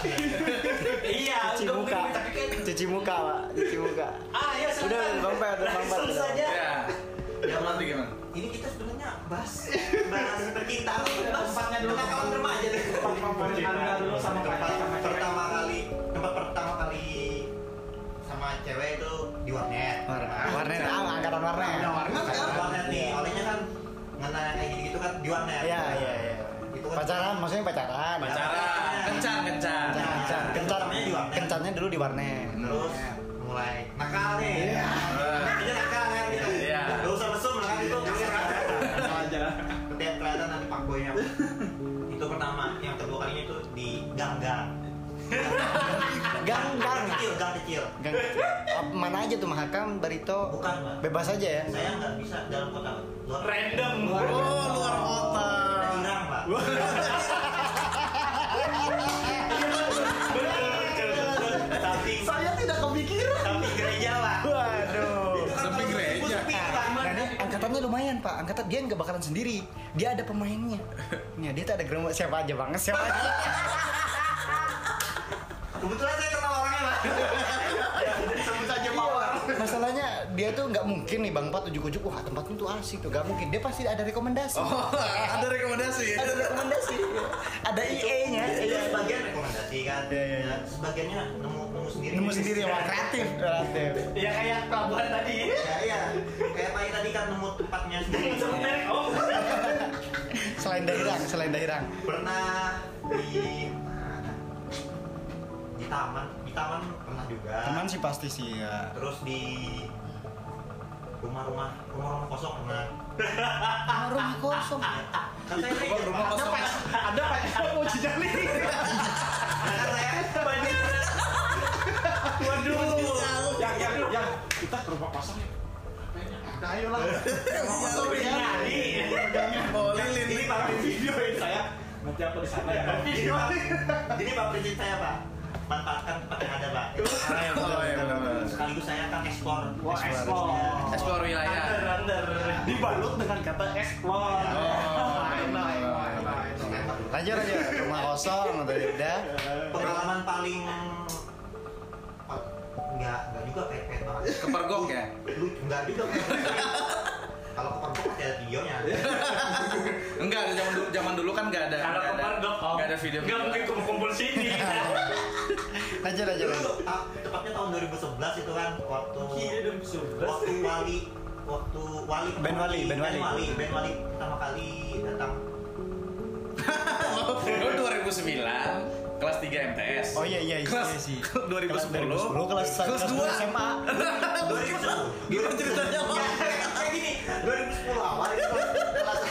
Speaker 3: Iya.
Speaker 1: Cuci
Speaker 3: untuk
Speaker 1: muka.
Speaker 3: begini, Tapi kan
Speaker 1: Cuci muka, Pak. Cuci muka.
Speaker 3: ah
Speaker 6: iya,
Speaker 3: ya
Speaker 1: Udah, udah, Bang Pat, udah, Bang Pat.
Speaker 3: Langsung saja.
Speaker 2: Ya. Yang nanti gimana?
Speaker 6: Ini kita sebenarnya bahas bahas percintaan bahas
Speaker 4: Tempatnya dulu.
Speaker 6: kenakalan remaja deh.
Speaker 4: Anda dulu sama
Speaker 6: tempat
Speaker 4: kalian, sama cewek.
Speaker 6: pertama kali tempat pertama kali sama cewek itu di warnet.
Speaker 1: Warnet, ah, angkatan warnet.
Speaker 4: Ada warnet
Speaker 6: Kan
Speaker 4: kan?
Speaker 6: warnet nih, orangnya kan ngena kayak gitu kan di warnet.
Speaker 1: Iya, iya, iya.
Speaker 6: Itu kan
Speaker 1: Pacaran, maksudnya pacaran.
Speaker 2: Pacaran,
Speaker 1: Iya.
Speaker 2: kencan kencan.
Speaker 1: Kencan, kencan. Kencan.
Speaker 6: Namanya di warnet.
Speaker 1: Kencannya dulu di warnet.
Speaker 6: terus mulai nakal nih.
Speaker 1: Iya.
Speaker 6: Namanya nakal gitu. kan gitu.
Speaker 2: Iya.
Speaker 6: Gak usah mesum lah kan itu. fuckboynya itu pertama yang kedua kalinya itu di gang-gang
Speaker 1: Gang, gang.
Speaker 6: kecil gang kecil
Speaker 1: Gang, Ap- mana aja tuh Mahakam, Barito?
Speaker 6: bukan Pak.
Speaker 1: Bebas aja ya.
Speaker 6: saya nggak bisa dalam kota luar
Speaker 3: Random.
Speaker 1: Oh, luar kota.
Speaker 6: Ada Irang pak tapi
Speaker 4: Saya tidak kepikiran.
Speaker 6: tapi gereja pak
Speaker 1: Waduh.
Speaker 6: Itu kan
Speaker 2: Tapi
Speaker 6: kalau
Speaker 2: gereja.
Speaker 6: sepi, Pak.
Speaker 1: Nah, ini angkatannya lumayan pak, angkatan dia nggak bakalan sendiri, dia ada pemainnya. Nih dia tuh ada gerombolan siapa aja bang, siapa aja.
Speaker 6: kebetulan saya kenal orangnya pak
Speaker 4: Sebut saja
Speaker 1: Iya,
Speaker 4: mawar.
Speaker 1: Pak. Masalahnya dia tuh nggak mungkin nih bang Pat ujuk-ujuk, wah tempatnya tuh asik tuh, nggak mungkin. Dia pasti ada rekomendasi,
Speaker 2: ada rekomendasi
Speaker 1: ada rekomendasi, ada IE-nya.
Speaker 6: itu sebagian rekomendasi kan
Speaker 1: Iya, iya, iya.
Speaker 6: sebagiannya nemu nemu sendiri
Speaker 1: Nemu sendiri ya, wah kreatif, kreatif.
Speaker 3: Ya kayak pelabuhan tadi.
Speaker 6: ya iya kayak tadi tadi kan nemu tempatnya sendiri
Speaker 3: Merek om.
Speaker 1: Selain daerah, selain daerah.
Speaker 6: pernah di mana? di taman di taman pernah juga
Speaker 1: Teman sih pasti sih ya.
Speaker 6: terus di rumah-rumah rumah-rumah kosong pernah
Speaker 1: Rumah kosong.
Speaker 6: kan saya gereja
Speaker 2: rumah
Speaker 6: Pak.
Speaker 2: kosong
Speaker 4: Ada Pak, ada mau jejali.
Speaker 6: Nah, kan saya banyak waduh
Speaker 4: Yang yang yang Ya, kita ke rumah kosong ya. Nah, ayolah. Rumah kosong ya.
Speaker 1: Iya.
Speaker 2: oh lilin
Speaker 6: ini pak ya.
Speaker 4: Videoin saya. Nanti aku di sana ya.
Speaker 6: jadi pak prinsip saya pak manfaatkan tempat yang ada pak
Speaker 2: oh iya benar
Speaker 6: sekaligus saya akan ekspor
Speaker 4: Wah, explore.
Speaker 5: Explore wilayah.
Speaker 3: Under, under.
Speaker 4: Dibalut dengan kata explore.
Speaker 6: Iya.
Speaker 2: Oh,
Speaker 4: Main, main, main, main.
Speaker 1: Lanjut aja rumah kosong atau udah.
Speaker 6: pengalaman paling enggak enggak juga kayak kayak banget
Speaker 2: kepergok ya
Speaker 6: lu enggak juga kalau ke Pemprov pasti ada videonya
Speaker 1: Iya.
Speaker 2: enggak ada zaman dulu zaman dulu kan enggak ada
Speaker 3: Kalau
Speaker 2: enggak ada
Speaker 3: kemarin dok,
Speaker 2: enggak ada video
Speaker 3: Gak mungkin kumpul-kumpul sini.
Speaker 1: Lanjut lanjut.
Speaker 6: dulu
Speaker 1: lanjut.
Speaker 6: ta- tepatnya tahun 2011 itu kan waktu
Speaker 2: Iya.
Speaker 3: Gila dong sebelas.
Speaker 6: waktu wali waktu wali
Speaker 1: Ben Wali, Ben
Speaker 6: Ben
Speaker 1: Wali.
Speaker 6: Wali Ben Wali pertama kali datang
Speaker 2: Lu 2009 kelas 3 MTS
Speaker 1: Oh iya iya iya
Speaker 2: kelas
Speaker 1: iya, sih.
Speaker 2: 2010
Speaker 1: kelas
Speaker 2: kelas
Speaker 1: 2 SMA.
Speaker 6: 2010
Speaker 2: gimana ceritanya
Speaker 1: Iya.
Speaker 2: Pak?
Speaker 6: Iya, kayak gini 2010 awal itu kan kelas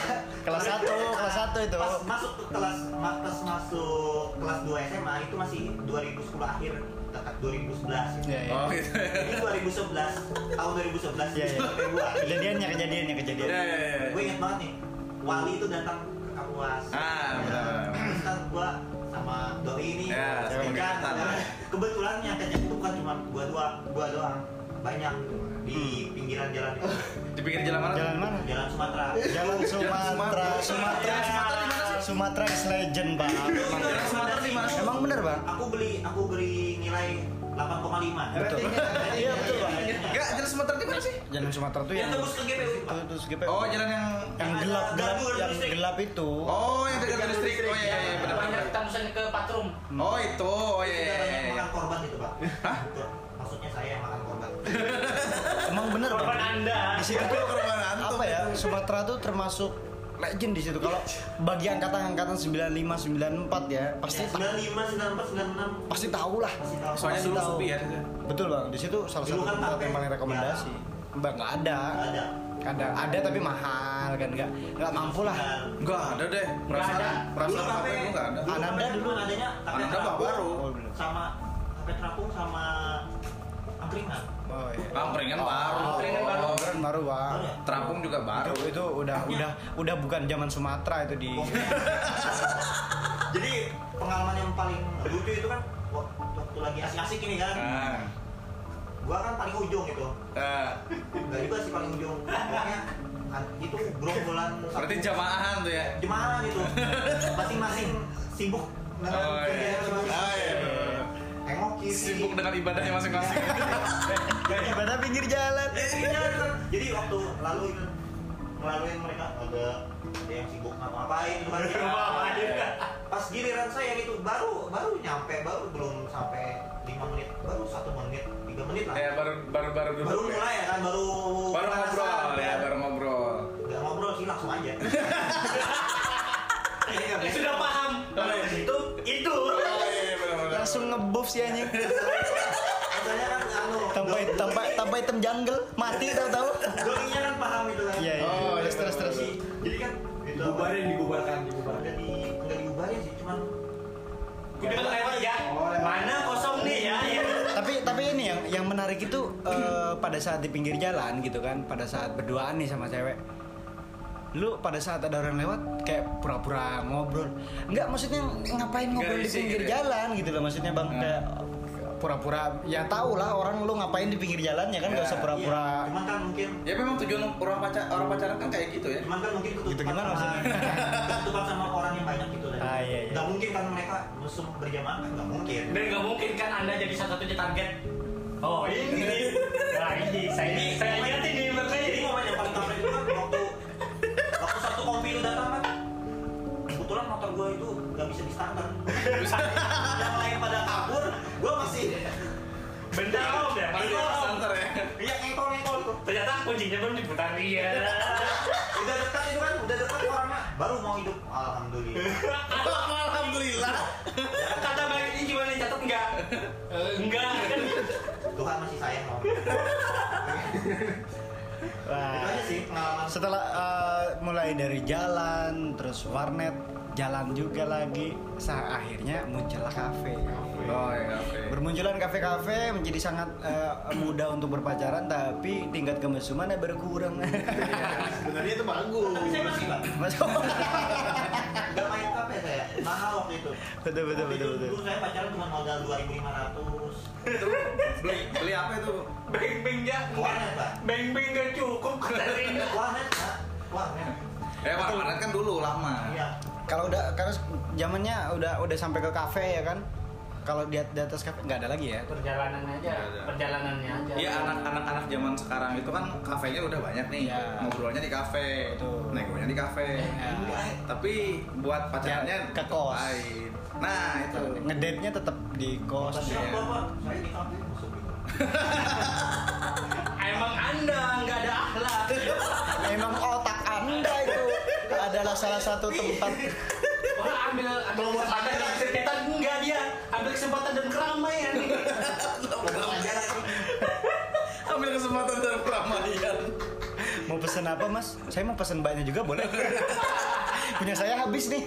Speaker 1: Kelas 1, kelas 1 itu.
Speaker 6: pas masuk ke kelas ma- pas masuk kelas 2 SMA itu masih 2010 akhir tetap 2011 gitu.
Speaker 1: Iya iya.
Speaker 2: oh gitu
Speaker 6: Jadi 2011 tahun 2011
Speaker 1: Iya, iya.
Speaker 6: Februari
Speaker 1: Kejadiannya kejadiannya
Speaker 2: ya
Speaker 1: kejadian.
Speaker 2: ya, ya.
Speaker 6: gue inget banget nih wali itu datang ke kampus
Speaker 2: Ah, benar, benar.
Speaker 6: terus kan gue sama doi ini
Speaker 2: Ya, sama
Speaker 6: kebetulan
Speaker 2: kegiatan, ya.
Speaker 6: kebetulan yang kerja itu bukan cuma gue doang gue doang banyak di pinggiran jalan itu
Speaker 2: di pinggir jalan mana
Speaker 1: Jalan mana?
Speaker 6: jalan Sumatera
Speaker 1: Jalan Sumatera, Sumatera, Sumatera is legend bang.
Speaker 2: Emang jalan Sumatera di mana?
Speaker 1: Emang bener bang?
Speaker 6: aku beli aku beli nilai 8,5
Speaker 1: Betul. Iya betul bang.
Speaker 2: Enggak, jalan Sumatera di mana sih?
Speaker 1: Jalan Sumatera tuh yang
Speaker 6: yang tembus ke GPU
Speaker 1: itu
Speaker 6: Pak.
Speaker 1: terus GP.
Speaker 2: Oh, jalan yang
Speaker 1: yang gelap gelap
Speaker 6: Gardu, gardu
Speaker 1: yang
Speaker 6: listrik.
Speaker 1: gelap itu.
Speaker 2: Oh, yang dekat listrik. Oh iya, iya, benar
Speaker 3: Banyak
Speaker 2: benar.
Speaker 3: tangusan ke patrum.
Speaker 1: Hmm.
Speaker 2: Oh, itu. Oh iya,
Speaker 6: Kita
Speaker 2: iya,
Speaker 6: banyak
Speaker 2: iya, iya.
Speaker 6: makan korban gitu pak maksudnya saya yang makan korban
Speaker 1: Emang bener
Speaker 3: Korban
Speaker 1: bang?
Speaker 3: anda.
Speaker 1: Di situ tuh iya. apa ya? Sumatera tuh termasuk legend di situ kalau bagi angkatan-angkatan 95 94 ya pasti ta-
Speaker 6: 95, 94, 96
Speaker 1: pasti tahu lah
Speaker 6: masih Iya. tahu
Speaker 2: Iya. Soalnya
Speaker 1: Masih
Speaker 2: dulu
Speaker 1: tahu.
Speaker 2: sepi ya. situ.
Speaker 1: betul bang di situ salah satu
Speaker 6: Dulu kan
Speaker 1: tempat
Speaker 6: tape.
Speaker 1: yang paling rekomendasi bang nggak ada
Speaker 6: Nggak ada
Speaker 1: ada ada tapi mahal kan nggak nggak mampu lah
Speaker 6: Dan
Speaker 2: Enggak ada deh. Merasa
Speaker 3: ada.
Speaker 2: merasa
Speaker 6: Dulu
Speaker 2: apa
Speaker 6: tapi-
Speaker 2: itu enggak ada.
Speaker 6: dulu
Speaker 1: Ananda
Speaker 6: namanya
Speaker 1: dulu.
Speaker 6: cuma adanya tape
Speaker 2: Ananda
Speaker 6: terapung
Speaker 2: baru.
Speaker 1: oh bener.
Speaker 6: sama tape terapung sama angkringan
Speaker 1: Oh, iya. Oh,
Speaker 2: Angkringan Ah, baru.
Speaker 1: angkringan baru
Speaker 2: Oh.
Speaker 1: Angkringan baru bang
Speaker 6: Baru ya?
Speaker 2: Terapung juga baru.
Speaker 1: itu, itu udah udah udah bukan zaman Sumatera itu di
Speaker 6: jadi pengalaman yang paling lucu itu kan wak- waktu lagi asik-asik ini kan
Speaker 2: Nah.
Speaker 6: gua kan paling ujung gitu
Speaker 2: Eh,
Speaker 6: enggak juga sih paling ujung pokoknya an- itu gerombolan satu-
Speaker 2: berarti jamaahan tuh ya.
Speaker 6: jemaah gitu masing-masing sibuk dengan
Speaker 2: Oh, iya.
Speaker 6: kerjaan masing-masing.
Speaker 2: Oh, iya.
Speaker 6: Tengok kiri.
Speaker 2: Sibuk dengan ibadahnya masing-masing.
Speaker 1: ibadah pinggir jalan
Speaker 6: jadi waktu lalu ngelaluin mereka ada ada yang sibuk ngapa-ngapain gitu kan. pas giliran saya yang itu baru baru nyampe baru belum sampai 5 menit baru satu menit tiga menit lah
Speaker 2: Eh, baru baru baru duduk.
Speaker 6: baru
Speaker 2: ya.
Speaker 6: mulai ya kan baru kan.
Speaker 2: Baru ngobrol ya, baru ngobrol.
Speaker 6: nggak ngobrol sih langsung aja Ini
Speaker 3: Ya
Speaker 6: nggak bisa.
Speaker 3: sudah paham. Kalau itu itu.
Speaker 2: Oh iya, iya, benar benar.
Speaker 1: langsung ngebuff sih anjing
Speaker 6: Rasanya kan anu
Speaker 1: tambah
Speaker 6: doi-
Speaker 1: tambah tambah hitam jungle mati tahu tahu
Speaker 6: doinya kan paham itu kan
Speaker 1: iya iya
Speaker 2: Oh, iya,
Speaker 1: terus terus terus
Speaker 6: Jadi- jadi kan jadi itu apa?
Speaker 7: Bubarin, dibubarkan, dibubarkan.
Speaker 6: Nggak di nggak dibubarin sih, cuman
Speaker 3: Udah lewat ya.
Speaker 4: Oh, lewat.
Speaker 3: Mana kosong nih ya? ya.
Speaker 1: tapi tapi ini yang yang menarik itu eh, pada saat di pinggir jalan gitu kan pada saat berduaan nih sama cewek lu pada saat ada orang lewat kayak pura-pura ngobrol nggak maksudnya ngapain ngobrol di
Speaker 7: risih
Speaker 1: pinggir
Speaker 7: gitu ya?
Speaker 1: jalan gitu loh maksudnya bang
Speaker 2: Hmm.
Speaker 1: kayak pura-pura ya tau lah orang lu ngapain di pinggir jalan ya kan nggak
Speaker 2: Ya,
Speaker 1: usah pura-pura
Speaker 6: iya. Cuman kan mungkin
Speaker 2: Ya memang tujuan orang pacar orang pacaran kan kayak gitu ya.
Speaker 6: cuman kan mungkin ketutupan
Speaker 1: Gitu gimana
Speaker 6: sama,
Speaker 1: maksudnya?
Speaker 6: ketutupan sama orang yang banyak gitu lah.
Speaker 1: Ah, iya, iya.
Speaker 6: Nggak mungkin kan mereka mesum berjamaah kan nggak mungkin.
Speaker 3: Dan nggak mungkin kan anda jadi satu-satunya target. Oh ini nih. Nah ini saya ini saya lihatin nih makanya.
Speaker 6: Jadi momen yang paling kampret itu kan waktu waktu satu kompi itu datang kan. Kebetulan motor gue itu nggak bisa di starter. yang lain pada kabur, gue masih
Speaker 3: Benda om ya.
Speaker 7: Pasti
Speaker 3: Benda om.
Speaker 7: santer ya.
Speaker 6: iya ngekol ngekol tuh.
Speaker 3: Ternyata kuncinya belum diputar dia.
Speaker 6: Udah dekat itu kan, udah dekat orangnya baru mau hidup. Alhamdulillah.
Speaker 7: Alhamdulillah.
Speaker 3: Kata baik ini gimana catat enggak? Enggak kan.
Speaker 6: Tuhan masih sayang sama gue.
Speaker 1: Wah. Ah.
Speaker 6: Itu aja sih pengalaman.
Speaker 1: setelah eh, mulai dari jalan terus warnet jalan juga lagi sah akhirnya muncullah kafe
Speaker 2: Oh iya, oke.
Speaker 1: Bermunculan kafe-kafe menjadi sangat eh, mudah untuk berpacaran tapi tingkat kemesumannya berkurang.
Speaker 4: Sebenarnya itu bagus.
Speaker 6: Tapi saya masih bang.
Speaker 1: Masuk.
Speaker 6: Gak main kafe saya, mahal waktu itu.
Speaker 1: betul betul
Speaker 6: Waktu
Speaker 1: betul
Speaker 6: itu
Speaker 1: betul.
Speaker 6: Dulu saya pacaran cuma modal 2.500.
Speaker 2: Beli beli apa itu?
Speaker 3: Beng-bengnya
Speaker 6: Warnet pak.
Speaker 3: Beng-beng gak cukup kering.
Speaker 6: Warnet pak. Warnet.
Speaker 2: Eh warnet kan dulu lama.
Speaker 6: Iya.
Speaker 1: Kalau udah kalau zamannya udah udah sampai ke kafe ya kan. Kalau di, di atas kafe nggak ada lagi ya.
Speaker 3: Perjalanan aja, perjalanannya aja.
Speaker 2: Iya anak-anak-anak zaman sekarang itu kan kafenya udah banyak nih,
Speaker 1: Iya.
Speaker 2: ngobrolnya di kafe,
Speaker 1: Betul.
Speaker 2: negonya di kafe. Tapi buat pacarnya
Speaker 1: Ya, ke kos.
Speaker 2: lain. Nah itu.
Speaker 1: Ngedate-nya tetap di kos.
Speaker 6: Tapi
Speaker 2: Iya.
Speaker 6: apa pak? Saya di kafe masuk gitu.
Speaker 3: Emang anda nggak ada akhlak.
Speaker 1: Memang otak Anda itu adalah salah satu tempat
Speaker 3: Orang ambil ambil kesempatan dan kesempatan enggak dia ambil kesempatan dan keramaian.
Speaker 2: Ambil kesempatan dalam keramaian.
Speaker 1: mau pesen apa Mas? Saya mau pesen banyak juga boleh. Punya saya habis nih.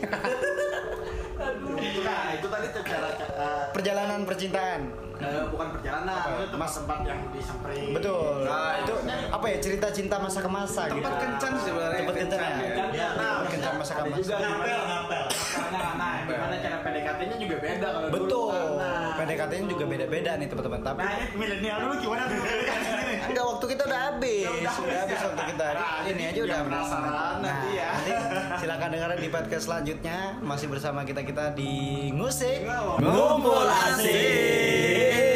Speaker 4: Nah, itu tadi cara eh,
Speaker 1: Perjalanan percintaan.
Speaker 4: eh, bukan perjalanan, itu
Speaker 1: Mas-
Speaker 4: tempat-tempat yang disamperin.
Speaker 1: Betul.
Speaker 2: Nah,
Speaker 1: itu apa ya cerita cinta masa ke masa gitu.
Speaker 2: Tempat kencan sebenarnya.
Speaker 1: Tempat kencan ya.
Speaker 4: Ya, nah,
Speaker 1: Tempat kencan masa ke
Speaker 4: ada
Speaker 1: masa.
Speaker 4: juga
Speaker 6: Ngapel
Speaker 4: gimana-
Speaker 6: ngapel.
Speaker 4: Nah, nah, gimana cara PDKT-nya juga beda kalau dulu.
Speaker 1: Betul.
Speaker 4: Nah,
Speaker 1: PDKT-nya juga beda-beda nih teman-teman. Tapi
Speaker 4: Nah, ini milenial dulu gimana tuh PDKT-nya nih?
Speaker 1: enggak waktu kita udah habis. Udah habis waktu kita. Jadi
Speaker 4: Nah,
Speaker 1: ini aja udah
Speaker 4: jangan
Speaker 1: habis. Nah,
Speaker 4: penasaran nanti ya.
Speaker 1: nanti silakan dengerin di podcast selanjutnya masih bersama kita kita di ngusik
Speaker 4: Wow.
Speaker 1: ngumpul asik.